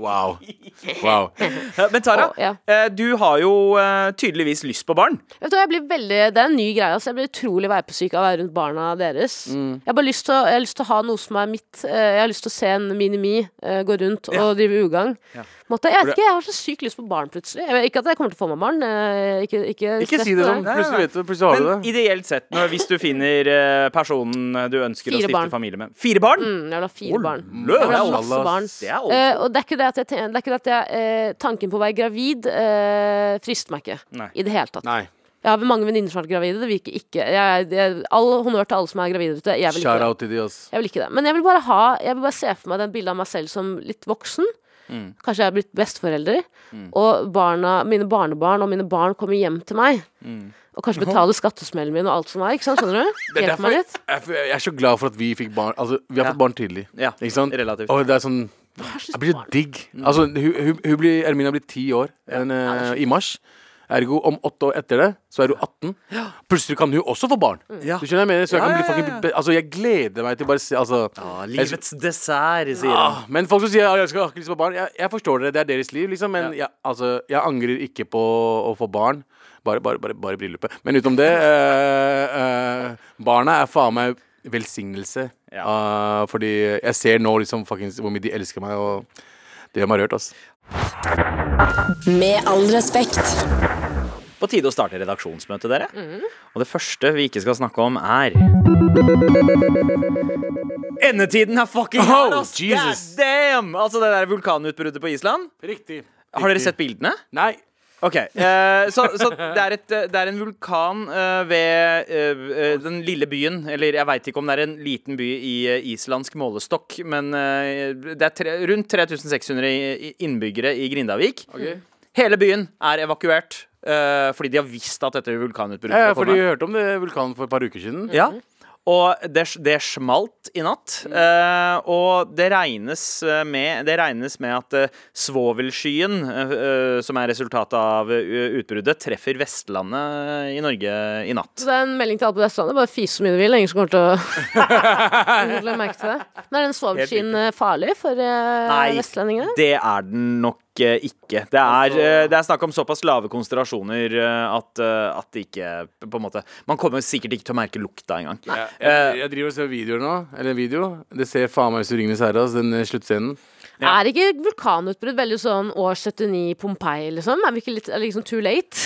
[SPEAKER 4] Wow. wow.
[SPEAKER 2] Men Tara,
[SPEAKER 3] Å, ja.
[SPEAKER 2] eh, du har jo eh, tydeligvis lyst på barn.
[SPEAKER 3] Vet du, hva, jeg blir veldig, det er en ny greie. Altså. Jeg blir utrolig veipesyk av å være rundt barna deres. Jeg har bare lyst til, å, jeg har lyst til å ha noe som er mitt. Eh, Jeg har lyst til å se en Mini-Me eh, gå rundt og drive ugagn. Måtte- Jeg vet ikke, jeg har så sykt lyst på barn plutselig. Jeg vet ikke at jeg kommer til å få meg barn. eh, Ikke, ikke,
[SPEAKER 4] Ikke
[SPEAKER 3] stress
[SPEAKER 4] si det
[SPEAKER 3] med
[SPEAKER 4] sånn.
[SPEAKER 2] Nei, nei,
[SPEAKER 4] Plutselig
[SPEAKER 2] nei.
[SPEAKER 4] vet du, plutselig har du
[SPEAKER 2] Men
[SPEAKER 4] det.
[SPEAKER 2] ideelt sett, når, hvis du finner eh, personen du ønsker
[SPEAKER 3] Fire
[SPEAKER 2] å viktig
[SPEAKER 3] barn.
[SPEAKER 2] familie med. Fire barn?
[SPEAKER 3] Mm, jeg vil ha fire barn.
[SPEAKER 2] løs!
[SPEAKER 3] Jeg vil ha
[SPEAKER 4] Allah,
[SPEAKER 3] masse barn.
[SPEAKER 2] Det er alt.
[SPEAKER 3] Eh, og det er ikke det at jeg, ten- det er ikke det at jeg eh, Tanken på å være gravid eh, frister meg ikke.
[SPEAKER 2] Nei.
[SPEAKER 3] I det hele tatt.
[SPEAKER 4] Nei.
[SPEAKER 3] Jeg har mange venninner som har vært gravide. Det virker ikke jeg, jeg, All honnør til alle som er gravide ute. Jeg vil ikke
[SPEAKER 4] Shout
[SPEAKER 3] det.
[SPEAKER 4] out til de, ass.
[SPEAKER 3] Jeg vil ikke det. Men jeg vil bare ha Jeg vil bare se for meg den bildet av meg selv som litt voksen.
[SPEAKER 4] Mm.
[SPEAKER 3] Kanskje jeg er blitt besteforelder. Og barna, mine barnebarn og mine barn kommer hjem til meg. Og kanskje betaler skattesmellen min og alt som er. Ikke sant? Skjønner du?
[SPEAKER 4] Mm. Det er
[SPEAKER 3] Hjelper meg
[SPEAKER 4] derfor-
[SPEAKER 3] litt.
[SPEAKER 4] Jeg, jeg er så glad for at vi fikk barn Altså, vi har
[SPEAKER 2] Ja.
[SPEAKER 4] fått barn tidlig.
[SPEAKER 2] Ja,
[SPEAKER 4] Ikke sant?
[SPEAKER 2] relativt.
[SPEAKER 4] Og det er sånn Jeg blir så digg. Altså, hun, hun, hun blir, Ermina blir ti år en, eh, i mars. Ergo, om åtte år etter det, så er hun 18. Plutselig kan hun også få barn.
[SPEAKER 2] Ja.
[SPEAKER 4] Du skjønner hva jeg mener? Så jeg,
[SPEAKER 2] Ja,
[SPEAKER 4] kan
[SPEAKER 2] ja,
[SPEAKER 4] bli fucking, be- altså, jeg gleder meg til bare å se altså,
[SPEAKER 2] Ja,
[SPEAKER 4] jeg-
[SPEAKER 2] livets dessert, sier han.
[SPEAKER 4] Ah, men folk som sier at jeg skal har ikke lyst på barn, jeg, jeg forstår dere. Det er deres liv, liksom. Men jeg, altså, jeg angrer ikke på å få barn. Bare, bare, bare, bare bryllupet. Men utenom det eh, eh, Barna er faen meg velsignelse. Ah, fordi jeg ser nå liksom fuckings hvor mye de elsker meg, og det gjør meg rørt, ass.
[SPEAKER 1] Med all respekt.
[SPEAKER 2] På tide å starte redaksjonsmøtet, dere. Og det første vi ikke skal snakke om, er Endetiden er fucking her,
[SPEAKER 4] Oh,
[SPEAKER 2] ass!
[SPEAKER 4] Jesus.
[SPEAKER 2] God damn! Altså det der vulkanutbruddet på Island.
[SPEAKER 4] Riktig.
[SPEAKER 2] Har dere sett bildene?
[SPEAKER 4] Nei.
[SPEAKER 2] Ok, eh, Så, så det, er et, eh, det er en vulkan eh, ved eh, eh, den lille byen Eller jeg veit ikke om det er en liten by i eh, islandsk målestokk, men eh, det er tre, rundt 3600 i- i- innbyggere i Grindavik. Hele byen er evakuert eh, fordi de har visst at dette vulkanutbruddet
[SPEAKER 4] Eh,
[SPEAKER 2] var
[SPEAKER 4] fordi
[SPEAKER 2] kommet.
[SPEAKER 4] jeg hørte om det vulkanen for et par uker siden.
[SPEAKER 2] Ja. Og det, det smalt i natt. eh, og det regnes eh, med, det regnes med at eh, svovelskyen, eh, eh, som er resultatet av eh, utbruddet, treffer Vestlandet eh, i Norge i natt.
[SPEAKER 3] Så det er en melding til alle på Vestlandet. Bare fis så mye du vil. Ingen som kommer til å Ingen legger merke til det. Men er den svovelskyen eh, farlig for eh, vestlendingene?
[SPEAKER 2] det er den nok eh, ikke. Det er, eh, det er snakk om såpass lave konsentrasjoner eh, at, eh, at det ikke på en måte, Man kommer sikkert ikke til å merke lukta engang.
[SPEAKER 4] Jeg, jeg, jeg driver og ser videoer nå. Eller en video. Det ser faen meg ut som Ringenes herre, ass, den eh, sluttscenen.
[SPEAKER 3] Er ikke vulkanutbrudd veldig sånn år 79 Pompeii, liksom? Er vi ikke litt er det liksom too late?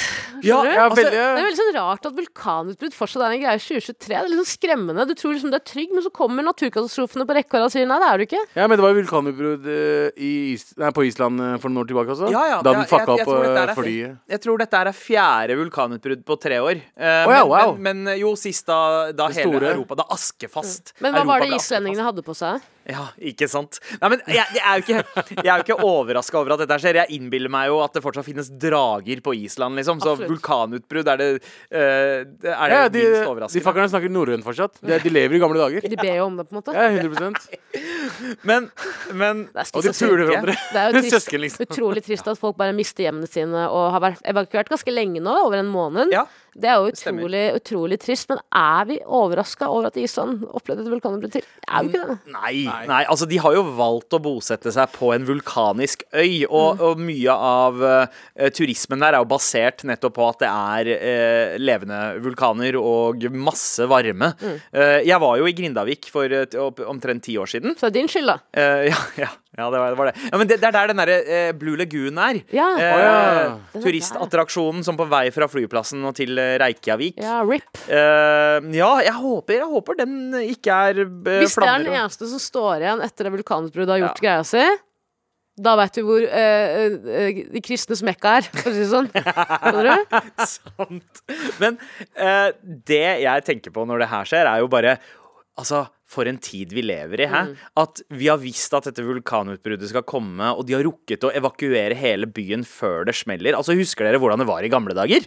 [SPEAKER 4] Ja,
[SPEAKER 3] du?
[SPEAKER 2] Altså,
[SPEAKER 4] ja, veldig.
[SPEAKER 3] Det er veldig sånn rart at vulkanutbrudd fortsatt er en greie i 2023. Det er litt sånn skremmende. Du tror liksom du er trygg, men så kommer naturkatastrofene på rekke og rad og sier nei, det er du ikke.
[SPEAKER 4] Ja, men det var vulkanutbrudd eh, i Is nei, på Island eh, for noen år tilbake også.
[SPEAKER 2] Ja, ja,
[SPEAKER 4] da
[SPEAKER 2] ja,
[SPEAKER 4] den fucka
[SPEAKER 2] jeg- jeg
[SPEAKER 4] opp
[SPEAKER 2] tror dette
[SPEAKER 4] eh,
[SPEAKER 2] er fi-
[SPEAKER 4] flyet.
[SPEAKER 2] Jeg tror dette er fjerde vulkanutbrudd på tre år. Eh,
[SPEAKER 4] Wow,
[SPEAKER 2] men,
[SPEAKER 4] wow.
[SPEAKER 2] Men, men jo, sist da, da
[SPEAKER 4] Det
[SPEAKER 2] hele
[SPEAKER 4] store.
[SPEAKER 2] Europa Da askefast.
[SPEAKER 3] Mm. Men hva
[SPEAKER 2] Europa
[SPEAKER 3] var det
[SPEAKER 2] ble
[SPEAKER 3] islendingene hadde på seg?
[SPEAKER 2] askefast. Ja, ikke sant. Nei, men jeg, jeg er jo ikke, jeg er jo ikke overraska over at dette skjer. Jeg innbiller meg jo at det fortsatt finnes drager på Island, liksom. Så
[SPEAKER 3] Absolutt.
[SPEAKER 2] vulkanutbrudd er det, eh, det- er det
[SPEAKER 4] Ja, de,
[SPEAKER 2] minst
[SPEAKER 4] de
[SPEAKER 2] overraskende.
[SPEAKER 4] fuckerne snakker norrønt fortsatt. De, de lever i gamle dager.
[SPEAKER 3] De ber jo om det, på en måte.
[SPEAKER 4] Ja, 100
[SPEAKER 2] men, men
[SPEAKER 3] Det er
[SPEAKER 4] Og de
[SPEAKER 3] skizofrent.
[SPEAKER 4] puler hverandre.
[SPEAKER 3] Det er jo trist,
[SPEAKER 4] Søsken, liksom.
[SPEAKER 3] utrolig trist at folk bare mister hjemmene sine og har vært evakuert ganske lenge nå, over en måned.
[SPEAKER 2] Ja.
[SPEAKER 3] Det er jo
[SPEAKER 2] stemmer.
[SPEAKER 3] utrolig, utrolig trist. Men er vi overraska over at Island opplevde et vulkanutbrudd til? Er vi ikke det?
[SPEAKER 2] Nei, nei. altså De har jo valgt å bosette seg på en vulkanisk øy, og,
[SPEAKER 3] Mm.
[SPEAKER 2] og mye av eh, turismen der er jo basert nettopp på at det er eh, levende vulkaner og masse varme.
[SPEAKER 3] Mm.
[SPEAKER 2] Eh, jeg var jo i Grindavik for eh, t- opp- omtrent ti år siden.
[SPEAKER 3] Så det er din skyld, da.
[SPEAKER 2] Eh, ja, ja, ja, det var det. Var det. Ja, men det, det er der den derre eh, Blue Lagoon er.
[SPEAKER 3] Ja.
[SPEAKER 2] Eh,
[SPEAKER 4] Å, ja.
[SPEAKER 3] Den er
[SPEAKER 2] Turistattraksjonen som på vei fra flyplassen og til eh, Reykjavik.
[SPEAKER 3] Ja, RIP.
[SPEAKER 2] Eh, ja, jeg håper, jeg håper den ikke er eh,
[SPEAKER 3] Hvis det er den
[SPEAKER 2] og-
[SPEAKER 3] eneste som står igjen etter at vulkanutbruddet har gjort greia si, da veit du hvor eh, eh, de kristnes mekka er, for å si det sånn. Skjønner du?
[SPEAKER 2] Sant. Men eh, det jeg tenker på når det her skjer, er jo bare Altså, for en tid vi lever i, hæ?
[SPEAKER 3] Mm.
[SPEAKER 2] At vi har visst at dette vulkanutbruddet skal komme, og de har rukket å evakuere hele byen før det smeller. Altså, husker dere hvordan det var i gamle dager?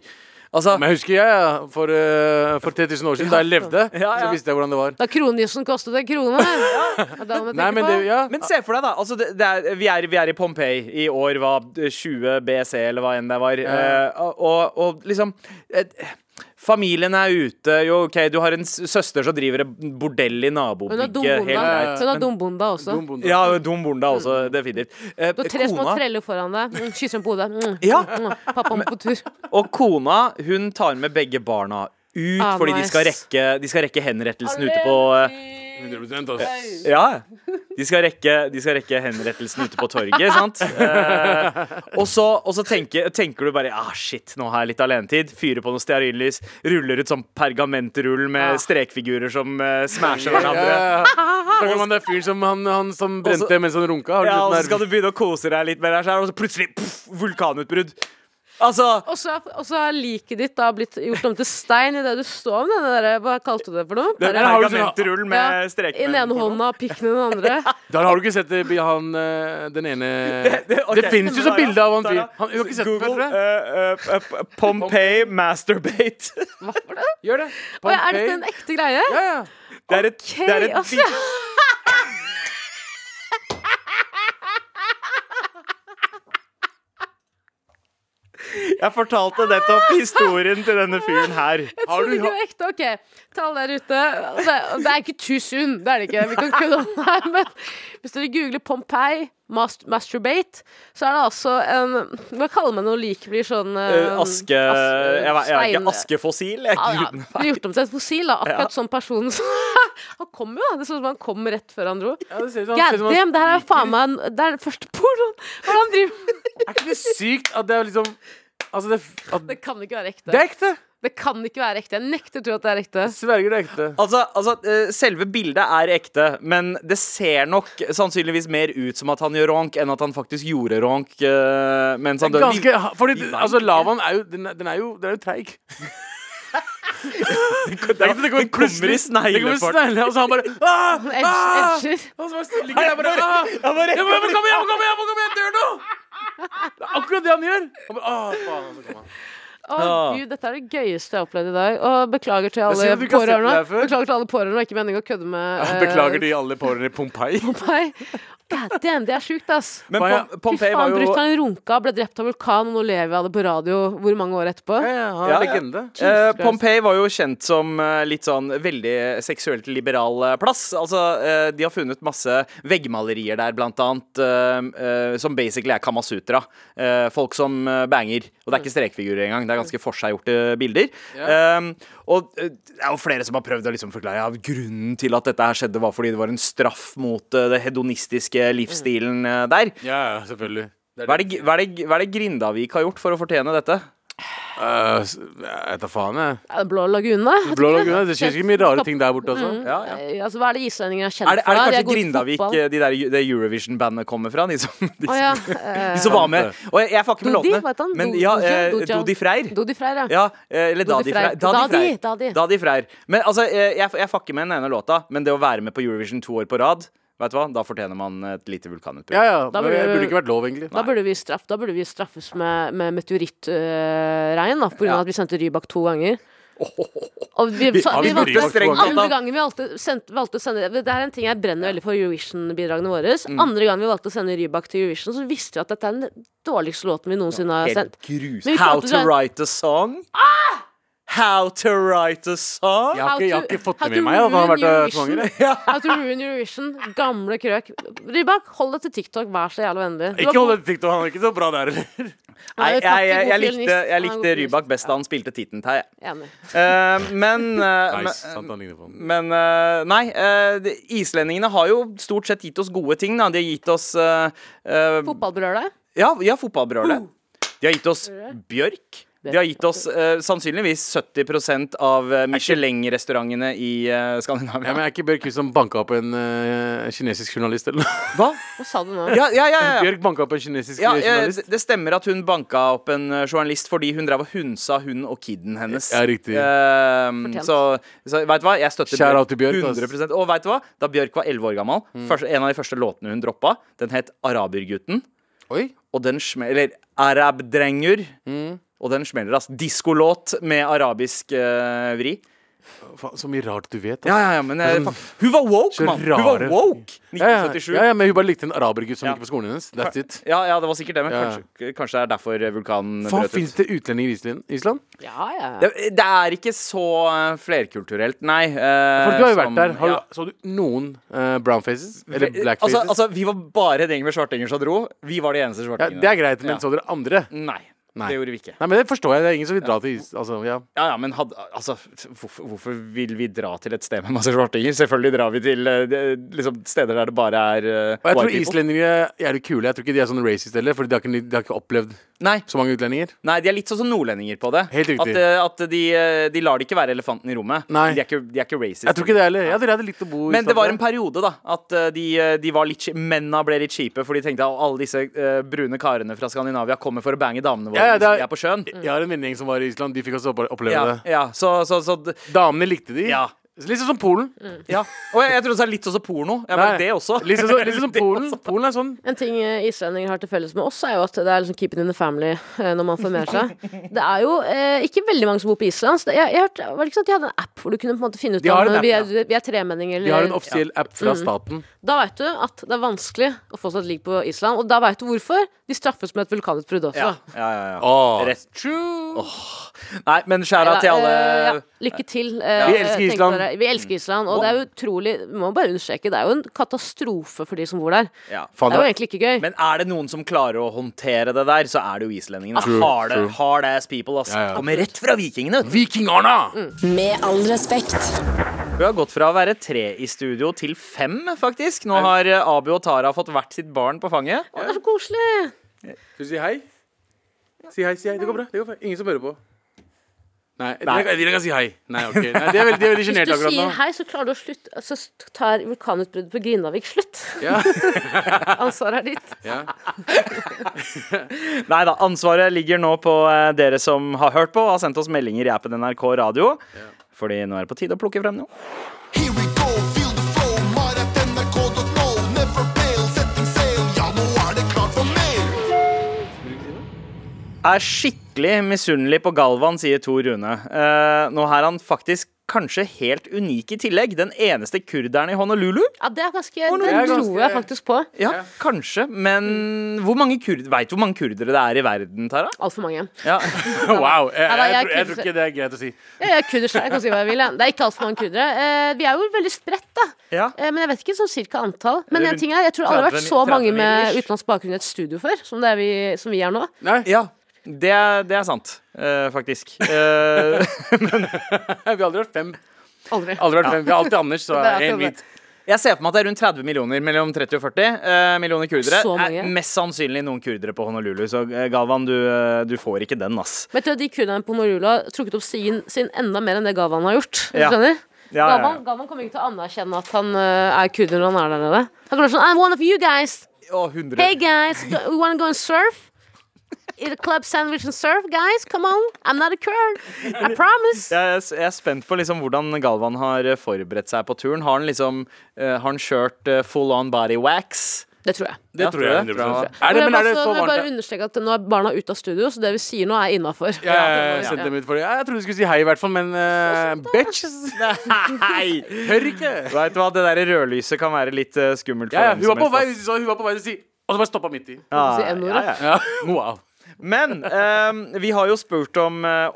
[SPEAKER 2] Altså,
[SPEAKER 4] Men jeg husker jeg, ja, for, eh, for 3000 år siden, da jeg levde,
[SPEAKER 2] Ja, ja.
[SPEAKER 4] så visste jeg hvordan det var.
[SPEAKER 3] Da kronjussen kostet en krone. Ja, da må du
[SPEAKER 4] Nei,
[SPEAKER 3] tenke
[SPEAKER 4] men
[SPEAKER 3] på.
[SPEAKER 4] det, ja.
[SPEAKER 2] men se for deg, da. Altså, det, det er, vi, er, vi er i Pompeii. I år var 20 BC, eller hva enn det var. Eh, og, og liksom eh, Familien er ute. Jo, OK, du har en s- søster som driver et bordell i
[SPEAKER 3] Hun er
[SPEAKER 2] nabobygget. helt
[SPEAKER 3] dumbonda.
[SPEAKER 2] greit.
[SPEAKER 3] Hun er dumbonda også.
[SPEAKER 4] Dum bonde.
[SPEAKER 2] Ja, dum bonde også, definitivt. Eh,
[SPEAKER 3] Du har tre små treller foran deg. Mm, Kysser dem på hodet. Mm,
[SPEAKER 2] Ja.
[SPEAKER 3] mm, Pappa må på tur.
[SPEAKER 2] og kona, hun tar med begge barna ut
[SPEAKER 3] Ah,
[SPEAKER 2] fordi de, skal
[SPEAKER 3] nice.
[SPEAKER 2] rekke, de skal rekke henrettelsen ute på eh,
[SPEAKER 4] 100% ass.
[SPEAKER 2] Ja. De skal rekke, de skal rekke henrettelsen ute på torget, sant? Eh, og så, og så tenker, tenker du bare ah, shit, nå har jeg litt alenetid. Fyrer på noe stearinlys, ruller ut sånn pergamentrull
[SPEAKER 3] Ah.
[SPEAKER 2] med strekfigurer som uh, smasher hverandre.
[SPEAKER 4] Ja, ja, ja. Snakker om han der fyren som, han, han som brente
[SPEAKER 2] Også-
[SPEAKER 4] mens han runka. Har du
[SPEAKER 2] Ja,
[SPEAKER 4] sett
[SPEAKER 2] og
[SPEAKER 4] den
[SPEAKER 2] så
[SPEAKER 4] der-
[SPEAKER 2] skal du begynne å kose deg litt med deg selv, og så plutselig puff, vulkanutbrudd. Altså
[SPEAKER 3] Og så og så har liket ditt da blitt gjort om til stein idet du står med den der Hva kalte du det for noe?
[SPEAKER 2] det er
[SPEAKER 4] der har du sånn-
[SPEAKER 2] Pergamentrull med streker.
[SPEAKER 3] I den ene hånda og pikken i den andre.
[SPEAKER 4] Der har du ikke sett det, han eh, den ene Det,
[SPEAKER 2] Ok.
[SPEAKER 4] finnes jo
[SPEAKER 2] Sara,
[SPEAKER 4] så bilde av han
[SPEAKER 2] Sara,
[SPEAKER 4] fyren. Han- Du har ikke sett det før,
[SPEAKER 2] Google
[SPEAKER 4] tror jeg.
[SPEAKER 2] eh, eh, eh, Pompeii masturbate.
[SPEAKER 4] Gjør det.
[SPEAKER 3] Oi, er dette
[SPEAKER 4] Pompeii.
[SPEAKER 3] en ekte greie?
[SPEAKER 4] Ja, ja.
[SPEAKER 2] Det er et, det er
[SPEAKER 3] Ok,
[SPEAKER 2] et
[SPEAKER 3] altså.
[SPEAKER 2] bil- Jeg fortalte nettopp historien til denne fyren her.
[SPEAKER 4] Har
[SPEAKER 3] Trodde
[SPEAKER 4] du,
[SPEAKER 3] ikke det var ekte, ok. Til alle der ute. Det, det er ikke too soon, det er det ikke. Vi kan kødde om det her, men hvis dere googler Pompeii mast masturbate, så er det altså en Hva kaller man når liket blir sånn
[SPEAKER 2] Eh,
[SPEAKER 3] eh,
[SPEAKER 2] Aske Jeg vet jeg vet
[SPEAKER 3] stein-
[SPEAKER 2] ikke. Askefossil? Jeg
[SPEAKER 3] Ja, ja.
[SPEAKER 2] gud.
[SPEAKER 3] Blir gjort om til et fossil, da. Akkurat sånn person som Han kom jo, da. Det så ut som han kom rett før han dro.
[SPEAKER 4] ja, det ser ut som han- ser ut som han
[SPEAKER 3] Goddamn, det her er
[SPEAKER 4] skriker.
[SPEAKER 3] faen meg en- Det er den første pornoen! Hva er det han driver med?
[SPEAKER 4] Er ikke det sykt at det er liksom Altså, det, at,
[SPEAKER 3] Det kan ikke være
[SPEAKER 4] det
[SPEAKER 3] ekte.
[SPEAKER 4] er ekte.
[SPEAKER 3] Det kan ikke være ekte. Jeg nekter å tro at det er ekte.
[SPEAKER 4] Sverger det er ekte.
[SPEAKER 2] Altså, altså, eh, selve bildet er ekte, men det ser nok sannsynligvis mer ut som at han gjør ronk, enn at han faktisk gjorde ronk eh, mens han døde.
[SPEAKER 4] Ganske, fordi,
[SPEAKER 2] vi vet
[SPEAKER 4] altså,
[SPEAKER 2] ikke.
[SPEAKER 4] lavaen er jo Den er, den er jo, den er jo treig.
[SPEAKER 2] Det, det, det kommer i
[SPEAKER 4] Det kommer i
[SPEAKER 2] sneglefart.
[SPEAKER 4] snegle, og så han bare ah,
[SPEAKER 3] Han
[SPEAKER 4] ah!
[SPEAKER 3] edger- edger.
[SPEAKER 4] Og så bare ligger der bare ah, jeg
[SPEAKER 2] Jeg bare-
[SPEAKER 4] må, jeg må komme hjem, komme hjem, komme hjem, dør nå! Det er akkurat det han gjør. Han bare, ah, faen, og så kommer han.
[SPEAKER 3] Å
[SPEAKER 2] Ja.
[SPEAKER 3] gud, dette er det gøyeste jeg har opplevd i dag. Og beklager til
[SPEAKER 4] synd
[SPEAKER 3] alle
[SPEAKER 4] at du ikke har sett
[SPEAKER 3] pårørende.
[SPEAKER 4] det her før.
[SPEAKER 3] Beklager til alle pårørende, det var ikke meningen å kødde med eh,
[SPEAKER 4] Beklager til alle pårørende i Pompeii.
[SPEAKER 3] Pompeii. God damn, det er sjukt, ass.
[SPEAKER 2] Men
[SPEAKER 4] Faen,
[SPEAKER 2] Pom-
[SPEAKER 3] Fy
[SPEAKER 2] Pompeii var
[SPEAKER 3] faen,
[SPEAKER 2] jo
[SPEAKER 3] brutter'n runka, ble drept av vulkan, og nå lever jeg av det på radio hvor mange år etterpå.
[SPEAKER 4] Ja, ja,
[SPEAKER 2] Ja,
[SPEAKER 4] han er
[SPEAKER 2] ja.
[SPEAKER 4] legende.
[SPEAKER 2] Eh,
[SPEAKER 3] Christ.
[SPEAKER 2] Pompeii var jo kjent som eh, litt sånn veldig seksuelt liberal eh, plass. Altså, eh, de har funnet masse veggmalerier der, blant annet, eh, eh, som basically er Kamasutra. Eh, folk som eh, banger. Og det er ikke strekfigurer engang, det er ganske forseggjorte bilder. Eh, og eh, det er jo flere som har prøvd å liksom forklare ja, grunnen til at dette her skjedde, var fordi det var en straff mot eh, det hedonistiske livsstilen eh, der.
[SPEAKER 4] Ja, ja, selvfølgelig.
[SPEAKER 2] Hva er, det, hva, er det, hva er det Grindavik har gjort for å fortjene dette?
[SPEAKER 4] Eh, s- Jeg vet da faen, jeg.
[SPEAKER 3] Ja, Den blå lagunen, da.
[SPEAKER 4] Blå lagune. Det Mm. skjer sikkert mye rare ting der borte også.
[SPEAKER 2] Ja, ja.
[SPEAKER 3] Eh, Altså, hva er det islendingene er kjent
[SPEAKER 2] Er det, er
[SPEAKER 3] for? da?
[SPEAKER 2] det
[SPEAKER 3] De
[SPEAKER 2] kanskje
[SPEAKER 3] gode i
[SPEAKER 2] Grindavik
[SPEAKER 3] fotball.
[SPEAKER 2] eh, de der, det Eurovision-bandet kommer fra? De som, de,
[SPEAKER 3] Å ja. Eh,
[SPEAKER 2] som, de som var med. Og jeg, jeg får ikke med
[SPEAKER 3] Dodi,
[SPEAKER 2] låtene.
[SPEAKER 3] hva het han?
[SPEAKER 2] Men
[SPEAKER 3] Do-
[SPEAKER 2] ja,
[SPEAKER 3] Doja?
[SPEAKER 2] eh,
[SPEAKER 3] Doja?
[SPEAKER 2] Dodi Freyr.
[SPEAKER 3] Dodi Freyr, ja.
[SPEAKER 2] Ja, eh, eller Dadi
[SPEAKER 3] Dodi
[SPEAKER 2] Freyr.
[SPEAKER 3] Freyr. Dadi, Dadi.
[SPEAKER 2] Dadi Freyr. Men altså, eh, jeg, jeg får ikke med den ene låta, men det å være med på Eurovision to år på rad, vet du hva, da fortjener man et lite vulkanutbrudd.
[SPEAKER 4] Ja, ja.
[SPEAKER 3] Da
[SPEAKER 4] men
[SPEAKER 3] burde
[SPEAKER 4] Det
[SPEAKER 3] du-
[SPEAKER 4] burde ikke vært lov, egentlig.
[SPEAKER 3] Da burde, vi straff, da burde vi straffes med, med meteorittregn, da, på grunn av at vi sendte Rybak to ganger. Og vi, så,
[SPEAKER 4] har
[SPEAKER 3] vi
[SPEAKER 4] vi
[SPEAKER 3] valgte
[SPEAKER 4] Rybak to
[SPEAKER 2] strengt
[SPEAKER 4] ganger?
[SPEAKER 2] tatt, da.
[SPEAKER 3] Andre gangen vi valgte, sendte, valgte å sende Det er en ting jeg brenner veldig for Eurovision-bidragene våre.
[SPEAKER 2] Mm.
[SPEAKER 3] Andre gangen vi valgte å sende Rybak til Eurovision, så visste vi at dette er den dårligste låten vi noensinne har
[SPEAKER 2] Helt
[SPEAKER 3] sendt.
[SPEAKER 2] grus.
[SPEAKER 3] Men vi
[SPEAKER 2] How
[SPEAKER 3] klarte Ah!
[SPEAKER 2] to
[SPEAKER 3] det.
[SPEAKER 2] write a song? How to write a song?
[SPEAKER 4] Jeg har ikke, jeg har
[SPEAKER 3] How to-
[SPEAKER 4] ikke fått
[SPEAKER 3] how
[SPEAKER 4] det med
[SPEAKER 3] to
[SPEAKER 4] meg at han har vært
[SPEAKER 3] ruin
[SPEAKER 4] eh,
[SPEAKER 3] Eurovision.
[SPEAKER 4] tvanger. jeg.
[SPEAKER 3] How to ruin Eurovision. Gamle krøk. Rybak, hold deg til TikTok, vær så jævla vennlig. Du
[SPEAKER 4] Ikke
[SPEAKER 3] var
[SPEAKER 4] hold deg til TikTok, han er ikke så bra der heller.
[SPEAKER 2] Nei,
[SPEAKER 3] Han er
[SPEAKER 2] jeg, jeg, jeg,
[SPEAKER 3] faktisk god
[SPEAKER 2] likte,
[SPEAKER 3] fiolinist.
[SPEAKER 2] jeg
[SPEAKER 3] Han er god
[SPEAKER 2] likte
[SPEAKER 3] fiolinist.
[SPEAKER 2] Rybak best da han spilte Tittentei.
[SPEAKER 3] Enig.
[SPEAKER 2] Eh, men, eh, men-
[SPEAKER 4] Nice, sant, han ligner på han.
[SPEAKER 2] Men eh, nei, eh, de- islendingene har jo stort sett gitt oss gode ting. Da. De har gitt oss uh,
[SPEAKER 3] Fotballbrølet.
[SPEAKER 2] Ja, ja fotballbrølet. De har gitt oss bjørk. De har gitt oss eh, sannsynligvis 70 av eh, Michelin-restaurantene i eh,
[SPEAKER 4] Ja,
[SPEAKER 2] Skandinavia.
[SPEAKER 4] men er ikke Bjørk hun som banka opp en eh, kinesisk journalist, eller noe?
[SPEAKER 2] Hva?
[SPEAKER 3] Hva sa du nå?
[SPEAKER 2] Ja, ja, ja. ja.
[SPEAKER 4] Bjørk banka opp en kinesisk
[SPEAKER 2] Ja,
[SPEAKER 4] eh,
[SPEAKER 2] eh,
[SPEAKER 4] journalist.
[SPEAKER 2] det det stemmer at hun banka opp en eh, journalist fordi hun drev og hunsa hun og kiden hennes.
[SPEAKER 4] Ja, riktig.
[SPEAKER 2] Eh, så så veit du hva, jeg støtter
[SPEAKER 4] Shout out til Bjørk, ass. Mm.
[SPEAKER 2] 100 Og veit du hva, da Bjørk var 11 år gammel, først- en av de første låtene hun droppa, den het 'Arabergutten'.
[SPEAKER 4] Oi.
[SPEAKER 2] Og den smel- Eller 'Arabdrenger'.
[SPEAKER 4] Mm.
[SPEAKER 2] Og den smeller, ass. Diskolåt med arabisk eh, vri.
[SPEAKER 4] Faen, så mye rart du vet.
[SPEAKER 2] Ja,
[SPEAKER 4] ass.
[SPEAKER 2] ja, ja, men eh, faen. Hun var woke,
[SPEAKER 4] så
[SPEAKER 2] mann! Hun var
[SPEAKER 4] rare-
[SPEAKER 2] woke!
[SPEAKER 4] ja,
[SPEAKER 2] 1977.
[SPEAKER 4] ja, ja, men hun bare likte en arabergutt som
[SPEAKER 2] Ja.
[SPEAKER 4] gikk på skolen hennes. That's it.
[SPEAKER 2] Ja, ja, det var sikkert det, men
[SPEAKER 4] Ja, ja.
[SPEAKER 2] kanskje, kanskje det er derfor vulkanen
[SPEAKER 4] Faen,
[SPEAKER 2] brøt ut.
[SPEAKER 4] fins det utlendinger i Island? Island?
[SPEAKER 3] Ja, ja.
[SPEAKER 2] Det, det er ikke så eh, flerkulturelt, nei. eh,
[SPEAKER 4] For du har jo vært
[SPEAKER 2] som-
[SPEAKER 4] der. Har du,
[SPEAKER 2] ja.
[SPEAKER 4] Så du noen eh, brown faces? Eller black faces?
[SPEAKER 2] Altså, altså, vi var bare en gjeng med svartinger som dro. Vi var de eneste
[SPEAKER 4] ja,
[SPEAKER 2] svartingene.
[SPEAKER 4] det er greit, men
[SPEAKER 2] Ja.
[SPEAKER 4] så dere andre?
[SPEAKER 2] Nei.
[SPEAKER 4] Nei.
[SPEAKER 2] Det gjorde vi ikke.
[SPEAKER 4] Nei, men det forstår jeg. Det er ingen som vil dra til is... Altså, ja.
[SPEAKER 2] Ja, ja, men had, altså, hvorfor, hvorfor vil vi dra til et sted med masse svartinger? Selvfølgelig drar vi til eh, det- liksom, steder der det bare er eh,
[SPEAKER 4] Og jeg
[SPEAKER 2] white
[SPEAKER 4] tror
[SPEAKER 2] people.
[SPEAKER 4] islendinger er jævlig kule. Jeg tror ikke de er sånn racist heller, Fordi de har ikke, de har ikke opplevd
[SPEAKER 2] Nei,
[SPEAKER 4] så mange utlendinger.
[SPEAKER 2] nei, de er litt sånn som nordlendinger på det.
[SPEAKER 4] Helt riktig.
[SPEAKER 2] At, eh, at de, eh, de lar det ikke være elefanten i rommet.
[SPEAKER 4] Nei.
[SPEAKER 2] De er ikke, de er ikke racist.
[SPEAKER 4] Jeg tror ikke det heller. Jeg tror jeg hadde likt å bo i
[SPEAKER 2] Men det var en
[SPEAKER 4] Sverige.
[SPEAKER 2] periode da at eh, de, eh, de var litt, kji- mennene ble litt kjipe, for de tenkte at alle disse eh, brune karene fra Skandinavia kommer for å bange damene våre
[SPEAKER 4] Ja, ja, det
[SPEAKER 2] hvis
[SPEAKER 4] er-
[SPEAKER 2] de er på sjøen.
[SPEAKER 4] Jeg har en vennegjeng som var i Island. De fikk også opp- oppleve
[SPEAKER 2] Ja,
[SPEAKER 4] det.
[SPEAKER 2] ja, så, så, så d-
[SPEAKER 4] Damene likte de.
[SPEAKER 2] Ja. Mm.
[SPEAKER 4] Litt sånn som Polen.
[SPEAKER 2] ja. Og jeg, jeg trodde det var litt sånn som porno. Jeg bare,
[SPEAKER 4] Nei.
[SPEAKER 2] det også.
[SPEAKER 4] Litt sånn, litt sånn som
[SPEAKER 2] Det
[SPEAKER 4] Polen.
[SPEAKER 2] også.
[SPEAKER 4] Polen er sånn.
[SPEAKER 3] En ting eh, islendinger har til felles med oss, er jo at det er liksom keep it in the family eh, når man formerer seg. Det er jo eh, ikke veldig mange som bor på Island. Så det, jeg, jeg hørte, var det ikke sånn at de hadde en app hvor du kunne på en måte finne ut
[SPEAKER 4] De har
[SPEAKER 3] om
[SPEAKER 4] en app,
[SPEAKER 3] vi er, vi er tremenninger
[SPEAKER 4] De har en
[SPEAKER 3] eller
[SPEAKER 4] offisiell app
[SPEAKER 2] Mm.
[SPEAKER 4] fra staten.
[SPEAKER 3] Da veit du at det er vanskelig å få seg et ligg på Island, og da veit du hvorfor. De straffes med et vulkanutbrudd også.
[SPEAKER 2] Ja, ja, ja, ja.
[SPEAKER 4] Åh.
[SPEAKER 2] Rett. Nei, men skjæra til alle
[SPEAKER 3] Eh, ja. Lykke til. eh,
[SPEAKER 4] Vi
[SPEAKER 3] tenk
[SPEAKER 4] elsker
[SPEAKER 3] på
[SPEAKER 4] Island. Mm.
[SPEAKER 3] dere. Vi elsker Island, og det er jo utrolig Vi Må bare understreke, det er jo en katastrofe for de som bor der.
[SPEAKER 2] ja.
[SPEAKER 4] Faen,
[SPEAKER 3] Det er jo
[SPEAKER 4] det,
[SPEAKER 3] egentlig ikke gøy.
[SPEAKER 2] Men er det noen som klarer å håndtere det der, så er det jo islendingene.
[SPEAKER 4] True,
[SPEAKER 2] Hard,
[SPEAKER 4] true.
[SPEAKER 2] hard ass people, ass.
[SPEAKER 4] Ja, ja.
[SPEAKER 2] Kommer rett fra vikingene.
[SPEAKER 4] Vikingarna!
[SPEAKER 2] Mm.
[SPEAKER 1] Med all respekt.
[SPEAKER 2] Vi har gått fra å være tre i studio til fem, faktisk. Nå har eh, Abu og Tara fått hvert sitt barn på fanget.
[SPEAKER 3] Å, det er så koselig!
[SPEAKER 4] Skal vi si hei? Si hei, si hei. Det går bra. Det går bra. Ingen som hører på. Nei, Dere, dere kan si hei. Nei, ok. Nei, de er veldig, de er veldig
[SPEAKER 3] Hvis
[SPEAKER 4] sjenerte
[SPEAKER 3] du
[SPEAKER 4] akkurat nå.
[SPEAKER 3] sier hei, så klarer du å slutte Så tar vulkanutbruddet på Grindavik slutt.
[SPEAKER 4] Ja.
[SPEAKER 3] Ansvaret er ditt.
[SPEAKER 4] Ja.
[SPEAKER 2] Nei da, ansvaret ligger nå på eh, dere som har hørt på og har sendt oss meldinger i appen NRK Radio. Fordi nå er det på tide å plukke frem noe.
[SPEAKER 5] Here we go, feel the flow. Marat.nrk.no. Never fail, setting sail. Ja, nå er det klart for mer.
[SPEAKER 2] Er skikkelig misunnelig på Galvan, sier Tor Rune. Eh, nå er han faktisk kanskje helt unik i tillegg. Den eneste kurderen i Honolulu.
[SPEAKER 3] Ja, det er ganske
[SPEAKER 2] nå-
[SPEAKER 3] Det
[SPEAKER 4] det er ganske-
[SPEAKER 3] tror jeg faktisk på.
[SPEAKER 2] Ja, kanskje, men hvor mange kurd... Veit du hvor mange kurdere det er i verden, Tara?
[SPEAKER 3] Altfor mange.
[SPEAKER 2] Ja.
[SPEAKER 4] Wow. Jeg,
[SPEAKER 3] Nei, nei,
[SPEAKER 4] jeg,
[SPEAKER 3] jeg
[SPEAKER 4] tror- jeg
[SPEAKER 3] kunne
[SPEAKER 4] tror ikke det er greit å si.
[SPEAKER 3] Ja, jeg er kurder, så jeg kan si hva jeg vil. jeg. Det er ikke altfor mange kurdere. Eh, Vi er jo veldig spredt, da.
[SPEAKER 2] ja.
[SPEAKER 3] Eh, Men jeg vet ikke sånn cirka antall. Men en
[SPEAKER 2] rundt
[SPEAKER 3] ting er, jeg tror det aldri har vært
[SPEAKER 2] 30
[SPEAKER 3] så mange
[SPEAKER 2] 30
[SPEAKER 3] med
[SPEAKER 2] ish.
[SPEAKER 3] utenlandsk bakgrunn i et studio før, som, det er vi, som vi er nå.
[SPEAKER 4] Nei,
[SPEAKER 2] ja. Det, er- det er sant, eh, faktisk. Eh,
[SPEAKER 4] Vi har aldri vært fem.
[SPEAKER 3] Aldri.
[SPEAKER 4] Aldri vært fem. Vi har alltid Anders, så
[SPEAKER 3] Det er
[SPEAKER 4] én
[SPEAKER 3] akkurat det.
[SPEAKER 4] hvit.
[SPEAKER 2] jeg ser for meg at det er rundt 30 millioner, mellom 30 og 40 eh, millioner kurdere.
[SPEAKER 3] Så mange.
[SPEAKER 2] Er mest sannsynlig noen kurdere på Honolulu, så eh, Galvan, du, eh, du får ikke den, ass.
[SPEAKER 3] Vet du, at De kurderne på Norula har trukket opp sin, sin enda mer enn det Gavan har gjort. Du
[SPEAKER 2] Ja.
[SPEAKER 3] skjønner?
[SPEAKER 2] Ja, ja,
[SPEAKER 3] Gavan, Gavan kommer ikke til å anerkjenne at han eh, er kurder når han er der nede. Han kommer til å være sånn I'm one of you guys.
[SPEAKER 2] ja. Å, 100.
[SPEAKER 3] Hey guys, go- we wanna go and surf? Eat a club sandwich and surf, guys? Come on. I'm not a kurd. I promise.
[SPEAKER 2] Jeg er, jeg er spent på liksom hvordan Galvan har eh, forberedt seg på turen. Har han liksom eh, Har han kjørt eh, full on body wax?
[SPEAKER 3] Det tror jeg.
[SPEAKER 4] Det
[SPEAKER 2] Ja,
[SPEAKER 4] tror jeg.
[SPEAKER 2] tror jeg.
[SPEAKER 4] 100%. Er det,
[SPEAKER 3] Men
[SPEAKER 4] men er det
[SPEAKER 3] også-
[SPEAKER 4] så
[SPEAKER 3] jeg vil bare
[SPEAKER 4] varmt?
[SPEAKER 3] understreke at nå er barna ute av studio, så det vi sier nå, er innafor.
[SPEAKER 4] Ja, jeg sendte dem ut for det. Ja, Jeg trodde du skulle si hei, i hvert fall, men eh, bitch
[SPEAKER 2] Nei!
[SPEAKER 4] tør ikke.
[SPEAKER 2] Vet du hva, det der rødlyset kan være litt eh, skummelt for
[SPEAKER 4] Ja, ja,
[SPEAKER 2] hvem
[SPEAKER 4] hun, var
[SPEAKER 2] som
[SPEAKER 4] på vei,
[SPEAKER 2] helst,
[SPEAKER 4] så hun var på vei til å si Og så bare stoppa midt i.
[SPEAKER 2] ass.
[SPEAKER 3] Si N-ordet.
[SPEAKER 2] Ja, ja, ja.
[SPEAKER 4] Ja, wow.
[SPEAKER 2] Men eh, vi har jo spurt om eh,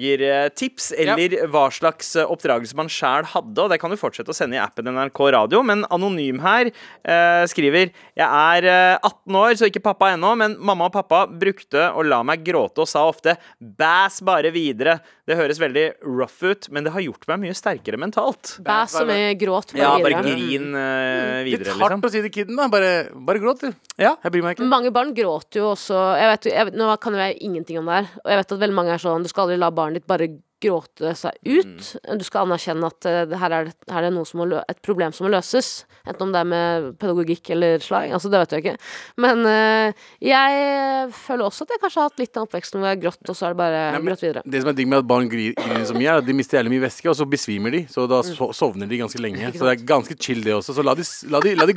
[SPEAKER 2] oppdragertips, eller hva slags eh, oppdragelse man sjæl hadde. Og det kan du fortsette å sende i appen NRK Radio. Men Anonym her eh, skriver Jeg er eh, 18 år, så ikke pappa ennå, men mamma og pappa brukte å la meg gråte og sa ofte 'bæs bare videre'. Det høres veldig rough ut, men det har gjort meg mye sterkere mentalt.
[SPEAKER 3] Bæ som i gråt.
[SPEAKER 2] Ja, bare
[SPEAKER 3] videre.
[SPEAKER 2] grin eh,
[SPEAKER 4] Litt
[SPEAKER 2] videre,
[SPEAKER 4] hardt
[SPEAKER 2] liksom.
[SPEAKER 4] å si til kiden, da. Bare, bare gråt, du.
[SPEAKER 2] Ja.
[SPEAKER 4] Jeg bryr meg ikke.
[SPEAKER 3] Mange barn gråter jo også jeg vet, jeg vet, Nå kan jo jeg ingenting om det her, og jeg vet at veldig mange er sånn Du skal aldri la barnet ditt bare gråte seg ut.
[SPEAKER 4] Mm.
[SPEAKER 3] Du skal anerkjenne at eh, det her er, det- her er noe som må lø et problem som må løses. Enten om det er med pedagogikk eller slag. Altså, det vet jeg ikke. Men eh, jeg føler også at jeg kanskje har hatt litt av oppveksten hvor jeg har grått, og så er det bare
[SPEAKER 4] Nei, men
[SPEAKER 3] grått videre.
[SPEAKER 4] Det som er digg med at barn gri- griner så mye, er at de mister jævlig mye væske, og så besvimer de. Så
[SPEAKER 3] Mm.
[SPEAKER 4] da so sovner de ganske lenge. Så det er ganske chill, det også. Så la de, s- la de, la de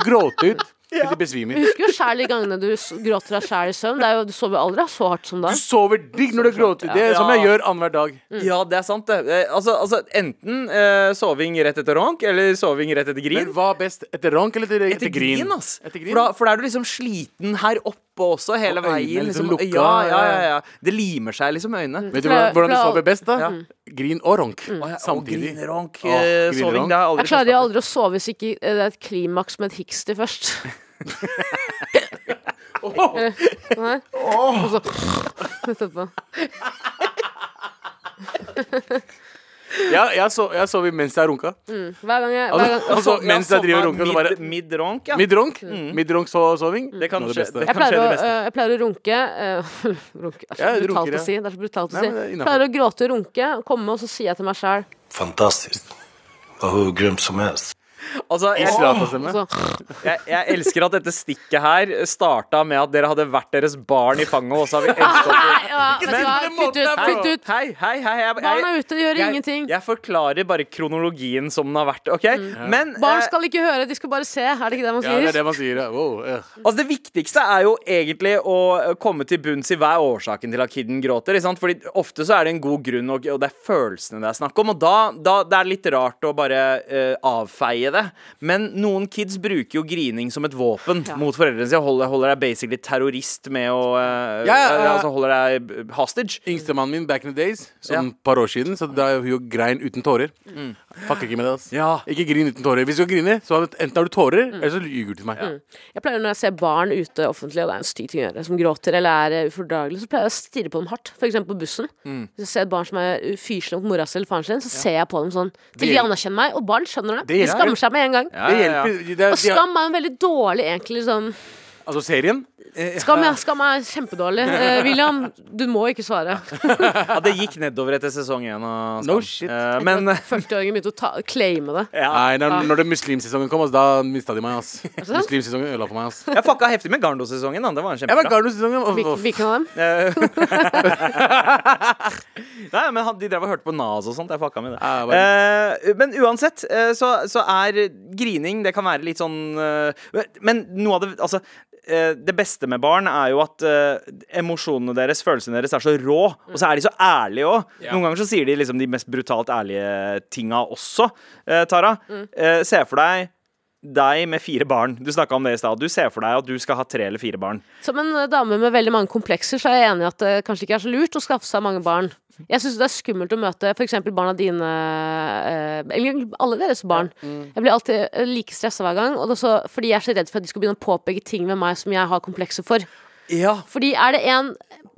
[SPEAKER 4] gråte ut til de besvimer.
[SPEAKER 3] Husker jo sjæl de gangene du s- gråter deg sjæl i søvn. Det er jo, du sover aldri så hardt som da.
[SPEAKER 4] Du sover digg når du gråter. Det er som jeg gjør annenhver dag.
[SPEAKER 3] Mm.
[SPEAKER 2] Ja, det er sant, det. Eh, Altså, altså enten eh, soving rett etter ronk, eller soving rett etter grin.
[SPEAKER 4] Men hva er best? Etter rank eller etter, etter, grin?
[SPEAKER 2] ass.
[SPEAKER 4] Etter grin.
[SPEAKER 2] For, da, for da er du liksom sliten her oppe også, hele
[SPEAKER 4] Og øynene er
[SPEAKER 2] veien.
[SPEAKER 4] liksom
[SPEAKER 2] Liksom,
[SPEAKER 4] lukka,
[SPEAKER 2] ja, ja,
[SPEAKER 4] ja, Mm.
[SPEAKER 2] ja, ja. Det limer seg liksom i øynene.
[SPEAKER 4] Vet du
[SPEAKER 3] For jeg-
[SPEAKER 4] hvordan, hvordan du
[SPEAKER 3] for jeg-
[SPEAKER 4] sover best, da? Grin og rank.
[SPEAKER 2] Mm.
[SPEAKER 4] Samtidig.
[SPEAKER 2] Grineronk,
[SPEAKER 4] Åh,
[SPEAKER 2] eh,
[SPEAKER 4] grineronk.
[SPEAKER 2] soving. Det har jeg aldri
[SPEAKER 3] Jeg klarer
[SPEAKER 2] forstått.
[SPEAKER 3] jo aldri å sove hvis ikke eh, det er et klimaks med et hiksti først. Eller sånn her. Og så etterpå.
[SPEAKER 4] Ja, jeg, sov, jeg sov imens jeg runka.
[SPEAKER 3] Hver gang jeg hver gang,
[SPEAKER 4] Altså, altså, mens jeg driver og runker, så bare
[SPEAKER 2] Midronk, ja.
[SPEAKER 4] Midronk. Midronk-soving.
[SPEAKER 2] Mm. Det kan
[SPEAKER 4] Noe av
[SPEAKER 2] skje-
[SPEAKER 4] beste.
[SPEAKER 2] det
[SPEAKER 3] jeg
[SPEAKER 2] kan skje
[SPEAKER 3] pleier, å,
[SPEAKER 2] det beste.
[SPEAKER 3] eh, jeg pleier å runke eh, Runke det er så
[SPEAKER 4] Ja, jeg
[SPEAKER 3] brutalt å
[SPEAKER 4] runker, ja.
[SPEAKER 3] si. Det er så brutalt å
[SPEAKER 4] Nei,
[SPEAKER 3] si.
[SPEAKER 4] men det er innenfor.
[SPEAKER 3] pleier å gråte og runke, og komme, og så sier jeg til meg sjæl
[SPEAKER 6] Fantastiskt. Var hur grym som helst.
[SPEAKER 2] Altså, jeg,
[SPEAKER 4] Islatasemme.
[SPEAKER 3] så,
[SPEAKER 2] jeg, jeg elsker at dette stikket her starta med at dere hadde vært deres barn i fanget, og så har vi endt opp
[SPEAKER 3] Nei, ja, vet du hva, kutt ut, kutt ut!
[SPEAKER 2] Hei, hei, hei. Jeg,
[SPEAKER 3] Barn er
[SPEAKER 2] jeg,
[SPEAKER 3] ute og gjør
[SPEAKER 2] jeg,
[SPEAKER 3] ingenting. Mm.
[SPEAKER 2] jeg forklarer bare kronologien som den har vært, OK? Men
[SPEAKER 3] Barn
[SPEAKER 2] eh,
[SPEAKER 3] skal ikke høre, de skal bare se. Er det ikke det man
[SPEAKER 4] Ja,
[SPEAKER 3] sier?
[SPEAKER 4] det er det man sier. ja. Wow. eh.
[SPEAKER 2] Altså Det viktigste er jo egentlig å eh, komme til bunns i hva er årsaken til at kiden gråter. Ikke sant? Fordi Ofte så er det en god grunn, og, og det er følelsene det er snakk om. Og da, da det er litt rart å bare eh, avfeie det. Men noen kids bruker jo grining som et våpen mot foreldrene sine. Holder, holder deg basically terrorist med å eh,
[SPEAKER 4] Ja, ja, ja.
[SPEAKER 2] Altså holder deg hostage.
[SPEAKER 4] Yngstemannen min back in the days, som
[SPEAKER 2] Ja. Mm.
[SPEAKER 4] et par år siden, så da hun jo grein uten tårer. Fucker ikke med det, ass.
[SPEAKER 2] Ja. Mm.
[SPEAKER 4] Ikke grin uten tårer. Hvis du skal grine, så enten har du tårer, eller så lyver du til meg.
[SPEAKER 3] Jeg pleier Når jeg ser barn ute offentlig, og det er en stygg ting å gjøre, som gråter eller er eh, ufordragelig, så pleier jeg å stirre på dem hardt. F.eks. på bussen. Hvis jeg ser et barn som er ufyselig mot mora si eller faren sin, så ser jeg på dem sånn. Til de
[SPEAKER 4] gjelder-
[SPEAKER 3] anerkjenner meg, og barn skjønner det.
[SPEAKER 4] Det
[SPEAKER 3] De
[SPEAKER 4] gjelder-
[SPEAKER 3] skammer seg med en gang.
[SPEAKER 4] Det hjelper. Det er,
[SPEAKER 3] Og skam er jo veldig dårlig, egentlig. Sånn.
[SPEAKER 4] altså serien?
[SPEAKER 3] Skam, ja, skam er kjempedårlig. Eh, William, du må ikke svare.
[SPEAKER 2] Ja, det gikk nedover etter sesong én. av Skam.
[SPEAKER 4] No shit.
[SPEAKER 2] Eh, men
[SPEAKER 3] 40-åringen begynte å ta, claime det.
[SPEAKER 2] ja,
[SPEAKER 4] Nei, når, når det muslimsesongen kom, ass, da mista de meg. ass
[SPEAKER 3] Ah. sant?
[SPEAKER 4] Muslimsesongen ødela for meg. ass
[SPEAKER 2] jeg fucka heftig med Garndo-sesongen. da. Det var en
[SPEAKER 4] Jeg
[SPEAKER 2] kjempebra.
[SPEAKER 4] var i Gardo-sesongen. og-
[SPEAKER 3] Hvil-
[SPEAKER 4] og-
[SPEAKER 3] Hvilken av dem?
[SPEAKER 2] Nei, men han, De drev og hørte på Nas og sånt. Jeg fucka med det.
[SPEAKER 4] Ja,
[SPEAKER 2] Eh, men uansett, eh, så, så er grining Det kan være litt sånn eh, Men noe av det Altså, eh, det beste med barn er jo at eh, emosjonene deres, følelsene deres, er så rå. Og så er de så ærlige òg. Noen ganger så sier de liksom de mest brutalt ærlige tinga også. Eh, Tara, eh, se for deg deg med fire barn. Du snakka om det i stad. Du ser for deg at du skal ha tre eller fire barn.
[SPEAKER 3] Som en eh, dame med veldig mange komplekser, så er jeg enig i at det kanskje ikke er så lurt å skaffe seg mange barn. Jeg syns det er skummelt å møte f.eks. barna dine eh, Eller alle deres barn.
[SPEAKER 2] mm.
[SPEAKER 3] Jeg blir alltid eh, like stressa hver gang, og det er så, fordi jeg er så redd for at de skal begynne å påpeke ting ved meg som jeg har komplekser for.
[SPEAKER 2] Ja,
[SPEAKER 3] Fordi er det en,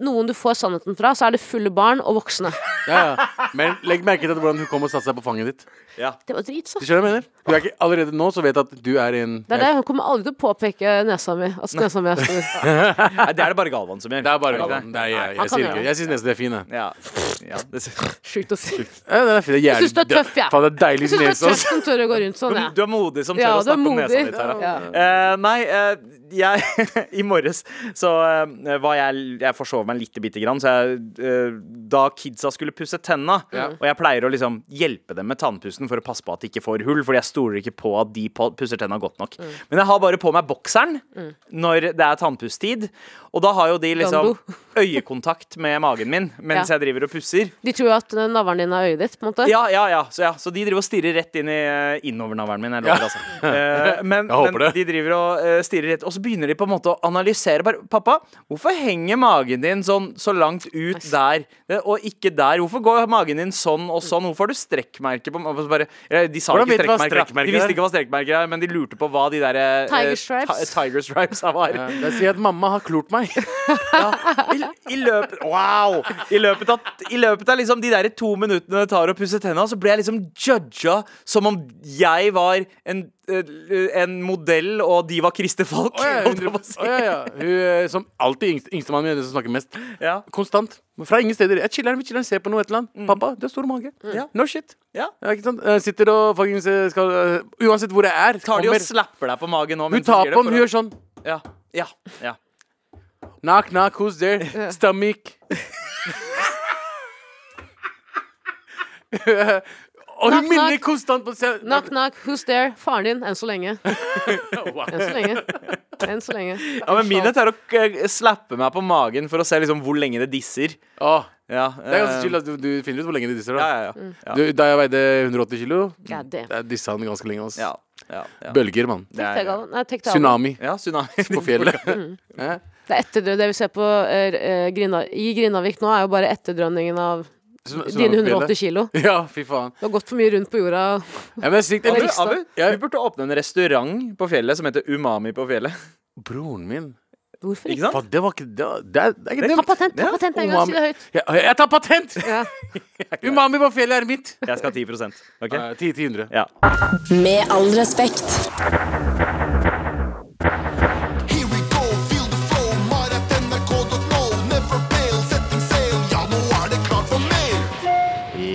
[SPEAKER 3] noen du får sannheten fra, så er det fulle barn og voksne.
[SPEAKER 4] Ja, ja. Men legg merke til hvordan hun kom og satte seg på fanget ditt.
[SPEAKER 3] Det var drit, så.
[SPEAKER 4] Du skjønner hva jeg mener? Du er ikke, allerede nå så vet jeg at du er en
[SPEAKER 3] Det er det. Hun kommer aldri til å påpeke nesa mi. At nesa mi altså. er stor.
[SPEAKER 2] Nei, Det er det bare Galvan som gjør.
[SPEAKER 4] Det er bare
[SPEAKER 2] det ikke
[SPEAKER 4] gaven. Nei, jeg,
[SPEAKER 3] han
[SPEAKER 4] jeg,
[SPEAKER 3] kan
[SPEAKER 4] sier
[SPEAKER 3] gjøre
[SPEAKER 4] ikke.
[SPEAKER 3] det.
[SPEAKER 4] Jeg syns nesten det er fin. Jeg.
[SPEAKER 2] Ja. ja det,
[SPEAKER 3] Sjukt å si.
[SPEAKER 4] Ja, den er fin. Det er
[SPEAKER 3] Jeg syns du er tøff, jeg.
[SPEAKER 4] Faen, det er deilig
[SPEAKER 3] Jeg syns du er
[SPEAKER 4] nese,
[SPEAKER 3] tøff
[SPEAKER 4] ass.
[SPEAKER 3] som tør å gå rundt sånn,
[SPEAKER 2] Du,
[SPEAKER 3] jeg.
[SPEAKER 2] du er modig som tør
[SPEAKER 3] Ja,
[SPEAKER 2] å
[SPEAKER 3] du er
[SPEAKER 2] snakke om nesa
[SPEAKER 3] modig.
[SPEAKER 2] di, Tara.
[SPEAKER 3] Ja.
[SPEAKER 2] Eh, nei, eh, jeg I morges så eh, var jeg Jeg forsov meg litt bitte grann, så jeg eh, Da kidsa skulle pusse tenna, og jeg pleier å liksom hjelpe dem med tannpussen for å passe på at de ikke får hull, Fordi jeg stoler ikke på at de pa- pusser tenna godt nok.
[SPEAKER 3] Mm.
[SPEAKER 2] Men jeg har bare på meg bokseren når det er tannpusstid, og da har jo de liksom
[SPEAKER 3] Dumbo.
[SPEAKER 2] øyekontakt med magen min mens
[SPEAKER 3] Ja.
[SPEAKER 2] jeg driver og pusser.
[SPEAKER 3] De tror jo at eh, navlen din er øyet ditt, på en måte.
[SPEAKER 2] Ja, ja, ja. Så, ja. så de driver og stirrer rett inn i eh, innovernavlen min. Jeg lover, altså. Eh, men
[SPEAKER 4] Jeg håper
[SPEAKER 2] men
[SPEAKER 4] det.
[SPEAKER 2] de driver og eh, stirrer rett, og så begynner de på en måte å analysere. Bare, Pappa, hvorfor henger magen din sånn så langt ut der eh, og ikke der? Hvorfor går magen din sånn og sånn? Hvorfor har du strekkmerker på ma- og så bare, eh, De sa
[SPEAKER 4] Hvordan
[SPEAKER 2] ikke
[SPEAKER 4] vet du hva
[SPEAKER 2] strekkmerker. da.
[SPEAKER 4] strekkmerker
[SPEAKER 2] De visste
[SPEAKER 4] er?
[SPEAKER 2] ikke hva strekkmerker er, men de lurte på hva de der eh,
[SPEAKER 3] Tiger
[SPEAKER 2] eh,
[SPEAKER 3] stripes.
[SPEAKER 2] ti- tiger stripes var.
[SPEAKER 4] Ja, Det sier at mamma har klort meg.
[SPEAKER 2] I, i løpet Wow! I løpet av, i løpet av liksom de der to minuttene det tar å pusse tenna, så ble jeg liksom judga som om jeg var en, eh, en modell, og de var Christer Falk.
[SPEAKER 4] Å, ja,
[SPEAKER 2] holdt jeg
[SPEAKER 4] hundre-
[SPEAKER 2] på å si.
[SPEAKER 4] Å, ja, ja. Hun eh, som alltid yngst, yngstemann min er den som snakker mest.
[SPEAKER 2] Ja.
[SPEAKER 4] Konstant. Fra ingen steder. Jeg chiller'n, vi chiller'n, ser på noe et eller annet.
[SPEAKER 3] Mm.
[SPEAKER 4] Pappa, du har stor mage.
[SPEAKER 2] Ja.
[SPEAKER 4] No shit.
[SPEAKER 2] Ja.
[SPEAKER 4] ikke sant? Jeg sitter og fuckings eh, skal eh, Uansett hvor jeg er,
[SPEAKER 2] Tar de og
[SPEAKER 4] kommer
[SPEAKER 2] slapper deg på magen nå?
[SPEAKER 4] Hun tar på den, hun gjør sånn.
[SPEAKER 2] Ja. Ja. ja.
[SPEAKER 4] Knock, knock, who's there? Stomach. og
[SPEAKER 3] Knock,
[SPEAKER 4] hun minner
[SPEAKER 3] knock.
[SPEAKER 4] konstant på seg.
[SPEAKER 3] Knock, knock, who's there? Faren din, enn så lenge. Enn så lenge. Enn så lenge.
[SPEAKER 2] ja men Min tar og eh, slapper meg på magen for å se liksom hvor lenge det disser.
[SPEAKER 4] Å,
[SPEAKER 2] Ja,
[SPEAKER 4] det er ganske chill. ass. Du, du finner ut hvor lenge de
[SPEAKER 2] Eh.
[SPEAKER 4] disser.
[SPEAKER 2] Ja, ja,
[SPEAKER 4] Da.
[SPEAKER 2] ja. Ja.
[SPEAKER 4] Du, da jeg veide 180 kilo,
[SPEAKER 3] God damn.
[SPEAKER 4] da dissa han ganske lenge. ass.
[SPEAKER 2] ja. ja. ja.
[SPEAKER 4] Bølger, mann.
[SPEAKER 2] Det
[SPEAKER 3] Tenk
[SPEAKER 2] er,
[SPEAKER 3] deg, Galvan. Nei, tenk deg, Galvan.
[SPEAKER 4] Tsunami
[SPEAKER 2] ja, tsunami.
[SPEAKER 4] på fjellet.
[SPEAKER 3] Mm. Det er etter det vi ser på eh, eh, Grina, i Grindavik nå, er jo bare etterdrønningen av
[SPEAKER 4] Tsun-
[SPEAKER 3] dine
[SPEAKER 4] tsunami på fjellet.
[SPEAKER 3] 180 kilo.
[SPEAKER 4] Ja, fy faen.
[SPEAKER 3] Du har gått for mye rundt på jorda.
[SPEAKER 4] Ja, men det er sykt.
[SPEAKER 2] Abu,
[SPEAKER 4] Jeg,
[SPEAKER 2] Abu,
[SPEAKER 4] jeg,
[SPEAKER 2] vi burde åpne en restaurant på fjellet som heter Umami på fjellet.
[SPEAKER 4] broren min
[SPEAKER 3] Hvorfor
[SPEAKER 2] Ikke
[SPEAKER 3] ikke?
[SPEAKER 2] sant?
[SPEAKER 4] Faen, det var ikke Det, var- det, er- det er ikke
[SPEAKER 2] Det-
[SPEAKER 3] Ta patent, ta
[SPEAKER 4] Ja,
[SPEAKER 3] patent en gang, si det
[SPEAKER 4] umami.
[SPEAKER 3] høyt.
[SPEAKER 4] Ja, jeg tar patent!
[SPEAKER 3] Ja.
[SPEAKER 4] Umami på fjellet er mitt.
[SPEAKER 2] Jeg skal ha 10 OK?
[SPEAKER 4] Eh, 10 til 100.
[SPEAKER 2] Ja.
[SPEAKER 1] Med all respekt.
[SPEAKER 5] Here we go, feel the flow, Marat NRK.no. Never fail, setting sail, ja, nå er det klart for mer.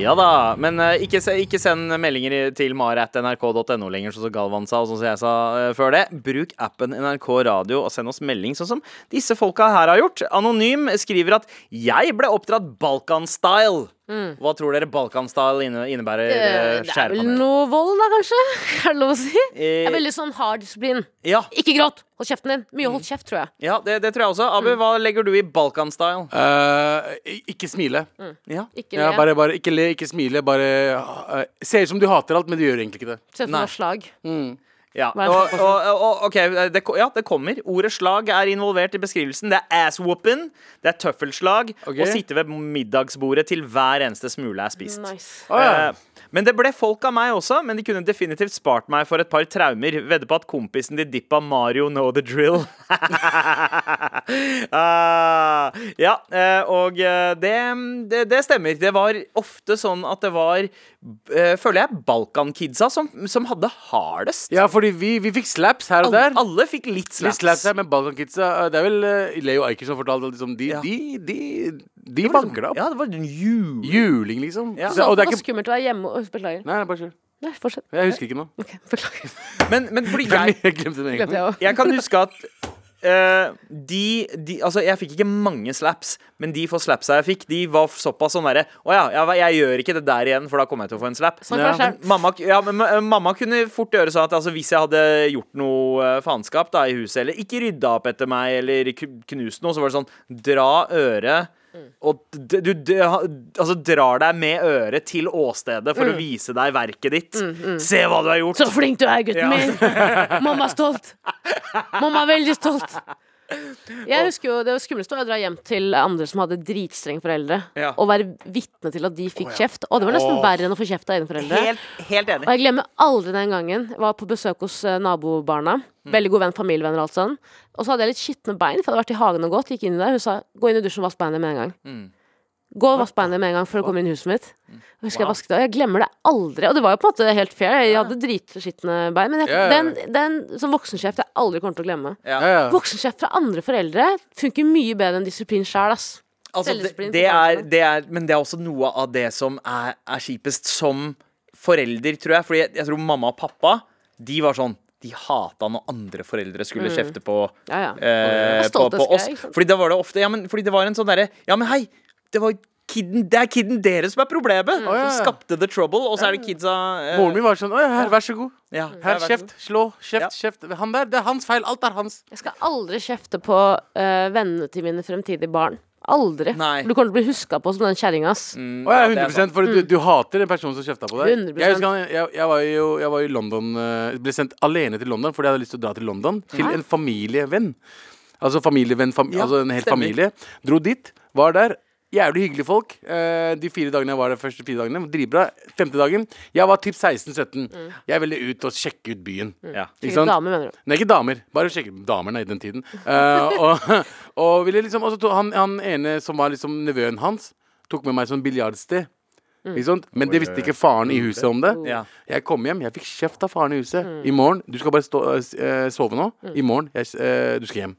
[SPEAKER 2] Ja da, men eh, ikke, se, ikke send meldinger i- til maratnrk.no lenger, sånn som Galvan sa, og sånn som jeg sa eh, før det. Bruk appen NRK Radio og send oss melding, sånn som disse folka her har gjort. Anonym skriver at 'jeg ble oppdratt Balkan-style'. Hva tror dere Balkan-style inne, innebærer? eh,
[SPEAKER 3] Mm. Det
[SPEAKER 2] kjære
[SPEAKER 3] er vel
[SPEAKER 2] panel?
[SPEAKER 3] noe vold, da, kanskje? Er det lov å si? Det
[SPEAKER 2] Eh,
[SPEAKER 3] er veldig sånn hard disiplin.
[SPEAKER 2] Ja,
[SPEAKER 3] Ikke gråt! Hold kjeften din. Mye
[SPEAKER 2] Mm.
[SPEAKER 3] hold kjeft, tror jeg.
[SPEAKER 2] ja det, det tror jeg også.
[SPEAKER 3] Mm.
[SPEAKER 2] Abu, hva legger du i Balkan-style?
[SPEAKER 4] Eh, ik- ikke smile.
[SPEAKER 2] Ja.
[SPEAKER 3] Mm, Ikke
[SPEAKER 4] Ja,
[SPEAKER 3] le.
[SPEAKER 4] bare, bare ikke le, ikke smile. Bare eh, Ser ut som du hater alt, men du gjør egentlig ikke det.
[SPEAKER 3] Se for
[SPEAKER 2] Nei.
[SPEAKER 3] deg slag.
[SPEAKER 2] Ja,
[SPEAKER 3] Hva er
[SPEAKER 2] og,
[SPEAKER 3] det?
[SPEAKER 2] og, og, ok, det, ko- ja, det kommer. Ordet slag er involvert i beskrivelsen. Det er ass-whooping, det er tøffelslag
[SPEAKER 4] Ok.
[SPEAKER 2] og sitte ved middagsbordet til hver eneste smule er spist.
[SPEAKER 3] Nice.
[SPEAKER 4] Å, ja.
[SPEAKER 2] Eh, Men det ble folk av meg også, men de kunne definitivt spart meg for et par traumer. Vedder på at kompisen de dippa Mario know the drill. Ah, ja, eh, og eh, det, det, det stemmer. Det var ofte sånn at det var, eh, føler jeg, Balkan-kidsa som, som hadde hardest.
[SPEAKER 4] ja, fordi vi, vi fikk slaps her og der.
[SPEAKER 2] Alle, alle fikk litt
[SPEAKER 4] Litt
[SPEAKER 2] slaps.
[SPEAKER 4] slaps her, men Balkan-kidsa eh, Det er vel eh, Leo Ajkic som fortalte at liksom, de,
[SPEAKER 2] Ja.
[SPEAKER 4] de, de, de banker det opp.
[SPEAKER 2] Ja, det var en jul.
[SPEAKER 4] Juling, liksom.
[SPEAKER 2] Ja.
[SPEAKER 4] Så,
[SPEAKER 3] Så,
[SPEAKER 4] og
[SPEAKER 3] det
[SPEAKER 4] det er
[SPEAKER 3] var
[SPEAKER 4] ikke
[SPEAKER 3] skummelt å være hjemme og Beklager.
[SPEAKER 4] Nei, nei, bare kjør.
[SPEAKER 3] Nei, fortsett.
[SPEAKER 4] Jeg husker ikke noe.
[SPEAKER 3] Ok, Beklager.
[SPEAKER 2] Men, men fordi jeg
[SPEAKER 4] Jeg glemte
[SPEAKER 3] Glemte
[SPEAKER 4] det egentlig.
[SPEAKER 3] jeg òg.
[SPEAKER 2] Jeg kan huske at eh, de, de Altså, jeg fikk ikke mange slaps, men de få slapsa jeg fikk, de var såpass sånn derre Å ja, ja, jeg gjør ikke det der igjen, for da kommer jeg til å få en slap.
[SPEAKER 3] Snakk for deg
[SPEAKER 4] Ja,
[SPEAKER 3] selv.
[SPEAKER 2] Mamma, ja, men ma- mamma kunne fort gjøre sånn at altså, hvis jeg hadde gjort noe eh, faenskap da, i huset, eller ikke rydda opp etter meg, eller ku- knust noe, så var det sånn Dra øret
[SPEAKER 3] Mm.
[SPEAKER 2] og d- du d- ha- altså, drar deg med øret til åstedet for å vise deg verket ditt. Se hva du har gjort!
[SPEAKER 3] Mm. Så flink du er, gutten
[SPEAKER 2] Ja.
[SPEAKER 3] min! Mamma er stolt. Mamma er veldig stolt. Jeg husker jo, Det var skumleste var å dra hjem til andre som hadde dritstrenge foreldre,
[SPEAKER 2] Ja.
[SPEAKER 3] og være vitne til at de fikk kjeft. Og det var nesten verre enn å få kjeft av egne foreldre.
[SPEAKER 2] Helt, helt enig.
[SPEAKER 3] Og jeg glemmer aldri den gangen. Jeg var på besøk hos eh, nabobarna.
[SPEAKER 4] Mm.
[SPEAKER 3] Veldig god venn, familievenner og alt sånn. Og så hadde jeg litt skitne bein, for jeg hadde vært i hagen og gått. Gikk inn der, Hun sa 'gå inn i dusjen og vask beina med en gang'.
[SPEAKER 4] Mm.
[SPEAKER 3] Gå og vask beina med en gang før du kommer inn i huset mitt. Og husker jeg vasket det, og jeg glemmer det aldri. Og det var jo på en måte helt fair. Jeg hadde dritskitne bein. Men jeg,
[SPEAKER 4] Ja, ja, ja.
[SPEAKER 3] den, den som voksensjef jeg aldri kommer til å glemme.
[SPEAKER 2] Ja.
[SPEAKER 4] Ja, ja.
[SPEAKER 3] Voksensjef fra andre foreldre funker mye bedre enn disiplin sjæl, ass.
[SPEAKER 2] Altså, det,
[SPEAKER 3] Selvdisiplin
[SPEAKER 2] det,
[SPEAKER 3] for
[SPEAKER 2] er,
[SPEAKER 3] barna.
[SPEAKER 2] det er, men det er også noe av det som er, er kjipest som forelder, tror jeg. Fordi jeg, jeg tror mamma og pappa, de var sånn de hata når andre foreldre skulle kjefte på,
[SPEAKER 3] Ja, ja.
[SPEAKER 2] eh,
[SPEAKER 3] Det er
[SPEAKER 2] på,
[SPEAKER 3] Mm. stolte
[SPEAKER 2] på
[SPEAKER 3] skreik,
[SPEAKER 2] oss.
[SPEAKER 3] ikke sant?
[SPEAKER 2] Fordi da var det ofte Ja, men fordi det var en sånn derre Ja, men hei! Det, var kidden, det er kiden deres som er
[SPEAKER 3] Mm.
[SPEAKER 2] problemet!
[SPEAKER 4] ja,
[SPEAKER 2] Som
[SPEAKER 4] ja.
[SPEAKER 2] skapte the trouble, og så er det kidsa eh,
[SPEAKER 4] Moren min var sånn Å ja, her, vær så god.
[SPEAKER 2] ja,
[SPEAKER 4] Her,
[SPEAKER 2] vær så
[SPEAKER 4] kjeft.
[SPEAKER 2] god.
[SPEAKER 4] Slå. Kjeft,
[SPEAKER 2] Ja.
[SPEAKER 4] kjeft. Han der, det er hans feil. Alt er hans.
[SPEAKER 3] Jeg skal aldri kjefte på eh, vennene til mine fremtidige barn. Aldri.
[SPEAKER 2] Nei.
[SPEAKER 3] Du kommer til å bli huska på som den kjerringa, ass.
[SPEAKER 4] Å ja,
[SPEAKER 2] Mm. Ja, det er
[SPEAKER 4] 100 For du, du hater en person som kjefta på deg.
[SPEAKER 3] 100%.
[SPEAKER 4] Jeg husker han, jeg, jeg, var jo, jeg var i London eh, Ble sendt alene til London fordi jeg hadde lyst til å dra til London. Til en familievenn. Altså familievenn, fam,
[SPEAKER 2] Ja,
[SPEAKER 4] altså en hel
[SPEAKER 2] stemmer.
[SPEAKER 4] familie. Dro dit, var der. Jævlig hyggelige folk. eh, de fire dagene jeg var der, første fire dagene, dritbra. Femte dagen, jeg var typ 16-17. Jeg ville ut og sjekke ut byen.
[SPEAKER 2] Ja.
[SPEAKER 4] Ikke
[SPEAKER 3] Sikkert
[SPEAKER 4] sant?
[SPEAKER 3] dame, mener du.
[SPEAKER 4] Nei, ikke damer. Bare sjekke damene i den tiden. Eh, og, og ville liksom Og så tok han, han ene som var liksom nevøen hans, tok med meg som biljardsted. Ikke sant? Men det visste ikke faren i huset om det.
[SPEAKER 2] Ja.
[SPEAKER 4] Jeg kom hjem, jeg fikk kjeft av faren i huset. I morgen Du skal bare stå, eh, sove nå. I morgen jeg, eh, du skal hjem.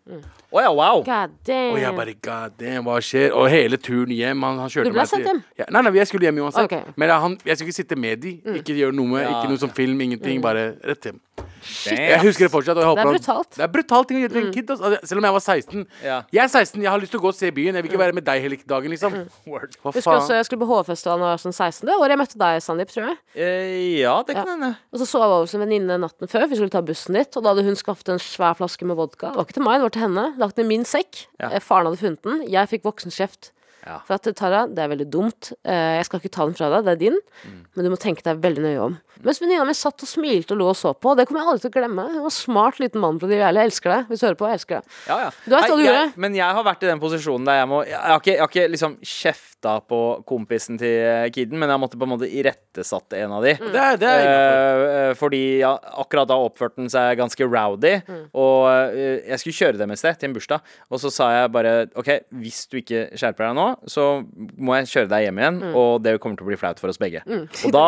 [SPEAKER 2] Å ja, wow!
[SPEAKER 3] God damn.
[SPEAKER 4] Og jeg bare God damn, hva skjer? Og hele turen hjem han, han kjørte
[SPEAKER 3] Du ble sendt
[SPEAKER 4] til-
[SPEAKER 3] hjem?
[SPEAKER 4] Ja, nei, nei, jeg skulle hjem uansett.
[SPEAKER 3] Ok. Mm.
[SPEAKER 4] Men jeg- han, jeg skulle ikke sitte med de. Ikke gjøre noe med
[SPEAKER 2] Ja,
[SPEAKER 4] Ikke noe som film, ingenting. Bare rett hjem. Jeg
[SPEAKER 2] Damn.
[SPEAKER 4] husker det fortsatt. Og jeg håper
[SPEAKER 3] er
[SPEAKER 4] han-
[SPEAKER 3] brutalt. Mm.
[SPEAKER 4] Det er brutalt ting å gjøre til en kid. Altså. Altså, Selv om jeg var 16.
[SPEAKER 2] Ja.
[SPEAKER 4] Jeg er 16, jeg har lyst til å gå og se byen. Jeg vil ikke være med deg hele dagen, liksom.
[SPEAKER 2] Word.
[SPEAKER 4] Hva
[SPEAKER 3] Husker Mm. også
[SPEAKER 4] faen?
[SPEAKER 3] jeg skulle på HV-festivalen da jeg var sånn 16. Det året jeg møtte deg, Sandeep, tror jeg.
[SPEAKER 2] Eh, ja, det kan
[SPEAKER 3] Ja.
[SPEAKER 2] hende.
[SPEAKER 3] Og så sov jeg over hos en venninne natten før, for vi skulle ta bussen dit. Og da hadde hun skaffet en svær flaske med vodka. Det var ikke til meg, det var til henne. Lagt den i min sekk.
[SPEAKER 2] Ja.
[SPEAKER 3] Eh, Faren hadde funnet den. Jeg fikk voksenkjeft.
[SPEAKER 2] Ja.
[SPEAKER 3] For at Tara, det er veldig dumt. Eh, Jeg skal ikke ta den fra deg, det er din.
[SPEAKER 2] Mm.
[SPEAKER 3] Men du må tenke deg veldig nøye om. Mens venninna mi satt og smilte og lo og så på. Det kommer jeg aldri til å glemme. Hun var en smart liten mann fra de jævla. Jeg elsker deg. Hvis du hører på, jeg elsker deg.
[SPEAKER 2] Ja, ja.
[SPEAKER 3] Du vet hva
[SPEAKER 2] Nei,
[SPEAKER 3] du
[SPEAKER 2] jeg,
[SPEAKER 3] gjorde.
[SPEAKER 2] Men jeg har vært i den posisjonen der jeg må Jeg har ikke, jeg har ikke liksom kjefta på kompisen til eh, kiden, men jeg måtte på en måte irettesatt en av de.
[SPEAKER 4] Det er, det er innenfor.
[SPEAKER 2] Eh, eh, fordi ja, akkurat da oppførte den seg ganske rowdy. Og eh, jeg skulle kjøre dem et sted, til en bursdag. Og så sa jeg bare OK, hvis du ikke skjerper deg nå, så må jeg kjøre deg hjem igjen. Og det kommer til å bli flaut for oss begge. Og da,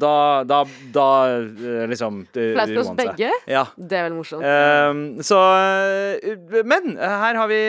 [SPEAKER 2] da, da, da eh, liksom det-
[SPEAKER 3] Flaut for oss
[SPEAKER 2] roet den seg.
[SPEAKER 3] begge?
[SPEAKER 2] Ja.
[SPEAKER 3] Det er veldig morsomt.
[SPEAKER 2] Ehm, så eh, Men eh, her har vi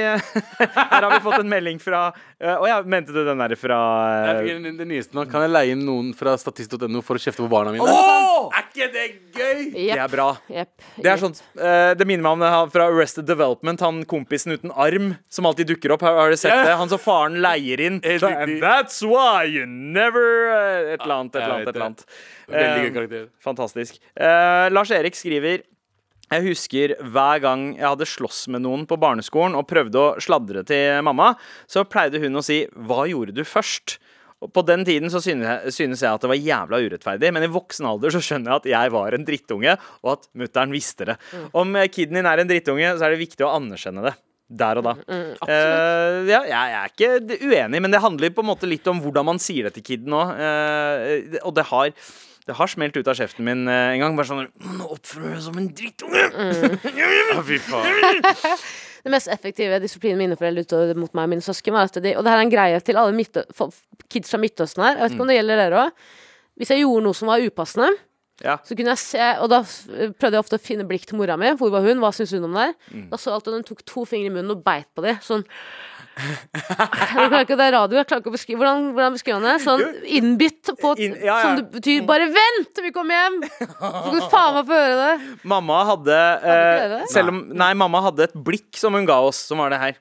[SPEAKER 2] Her har vi fått en melding fra eh, Å ja, mente du den der fra
[SPEAKER 4] Jeg
[SPEAKER 2] eh,
[SPEAKER 4] fikk den- den nyeste nå. Kan jeg leie inn noen fra statist.no for å kjefte på barna mine?
[SPEAKER 2] Åh! Er ikke det gøy? Det
[SPEAKER 3] Jepp.
[SPEAKER 2] er bra.
[SPEAKER 3] Jepp.
[SPEAKER 2] Det er sånt, eh, det minner meg om det her fra Arrested Development. Han kompisen uten arm som alltid dukker opp. Har, har du sett
[SPEAKER 4] Ja. Eh,
[SPEAKER 2] det? Han som faren leier inn.
[SPEAKER 4] Helt
[SPEAKER 2] Så,
[SPEAKER 4] riktig.
[SPEAKER 2] And that's why you never eh, Et eller annet, et
[SPEAKER 4] Ja,
[SPEAKER 2] eller annet. Et
[SPEAKER 4] jeg vet
[SPEAKER 2] eller annet.
[SPEAKER 4] Veldig gøy
[SPEAKER 2] Ehm,
[SPEAKER 4] karakter.
[SPEAKER 2] Fantastisk. Eh, Lars Erik skriver jeg husker hver gang jeg hadde slåss med noen på barneskolen og prøvde å sladre til mamma, så pleide hun å si 'hva gjorde du først'? Og På den tiden så synes jeg, synes jeg at det var jævla urettferdig, men i voksen alder så skjønner jeg at jeg var en drittunge, og at mutter'n visste det. Om eh, kiden din er en drittunge, så er det viktig å anerkjenne det. Der og da. Eh, ja, jeg er ikke d- uenig, men det handler på en måte litt om hvordan man sier det til kiden òg. og det har det har smelt ut av kjeften min eh, en gang. Bare sånn Nå oppfører du deg som en drittunge!
[SPEAKER 4] Å, Fy faen.
[SPEAKER 3] Det mest effektive disiplinen mine foreldre utover mot meg og mine søsken var at de Og det her er en greie til alle midtø fo- kids fra Midtøsten her. Jeg vet ikke
[SPEAKER 4] Mm.
[SPEAKER 3] om det gjelder dere òg. Hvis jeg gjorde noe som var upassende,
[SPEAKER 2] Ja.
[SPEAKER 3] så kunne jeg se Og da f- prøvde jeg ofte å finne blikk til mora mi. Hvor var hun? Hva syns hun om det? her?
[SPEAKER 4] Mm.
[SPEAKER 3] Da så jeg alltid at hun tok to fingre i munnen og beit på dem. Sånn jeg klarer ikke, Det er radio, jeg klarer ikke å beskrive Hvordan, hvordan beskriver han det? Sånn innbitt på
[SPEAKER 2] Inn- ja, ja.
[SPEAKER 3] Som det betyr 'bare vent til vi kommer hjem'! Så kan du faen meg få høre det.
[SPEAKER 2] Mamma hadde
[SPEAKER 3] Hadde ikke
[SPEAKER 2] eh,
[SPEAKER 3] dere?
[SPEAKER 2] selv om, Nei, mamma hadde et blikk som hun ga oss, som var det her.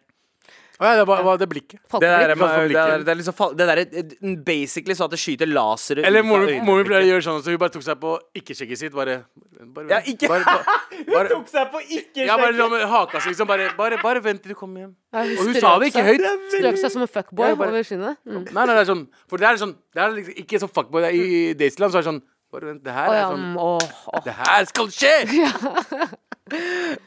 [SPEAKER 4] Å, ja, det var, var det blikket.
[SPEAKER 2] Det der, det er,
[SPEAKER 3] Folkeblikk.
[SPEAKER 4] for
[SPEAKER 2] det
[SPEAKER 4] blikket.
[SPEAKER 2] er, liksom fa- det der er basically så at det skyter lasere ut
[SPEAKER 4] Eller
[SPEAKER 2] av
[SPEAKER 4] mor
[SPEAKER 2] øynene.
[SPEAKER 4] mor min pleier å gjøre sånn, så hun bare tok seg på ikke-sjekket sitt. Bare, bare
[SPEAKER 2] Ja, ikke-
[SPEAKER 4] bare, bare, bare,
[SPEAKER 2] Tok seg på ikke
[SPEAKER 4] Ja, bare sånn med haka si, liksom. Bare, bare, bare vent til du kommer hjem.
[SPEAKER 3] Ja, hun
[SPEAKER 4] Og hun sa det
[SPEAKER 3] strøk
[SPEAKER 4] ikke
[SPEAKER 3] seg.
[SPEAKER 4] høyt.
[SPEAKER 3] Strøk seg som en fuckboy
[SPEAKER 4] Ja, bare-
[SPEAKER 3] over skinnet. Mm.
[SPEAKER 4] Nei, nei, det er sånn For det er sånn Det er liksom ikke så fuckboy. Det er I Daisland så er det sånn Bare vent, det her
[SPEAKER 3] Å
[SPEAKER 4] er
[SPEAKER 3] ja,
[SPEAKER 4] sånn
[SPEAKER 3] mm, åh, åh.
[SPEAKER 4] Det her skal skje!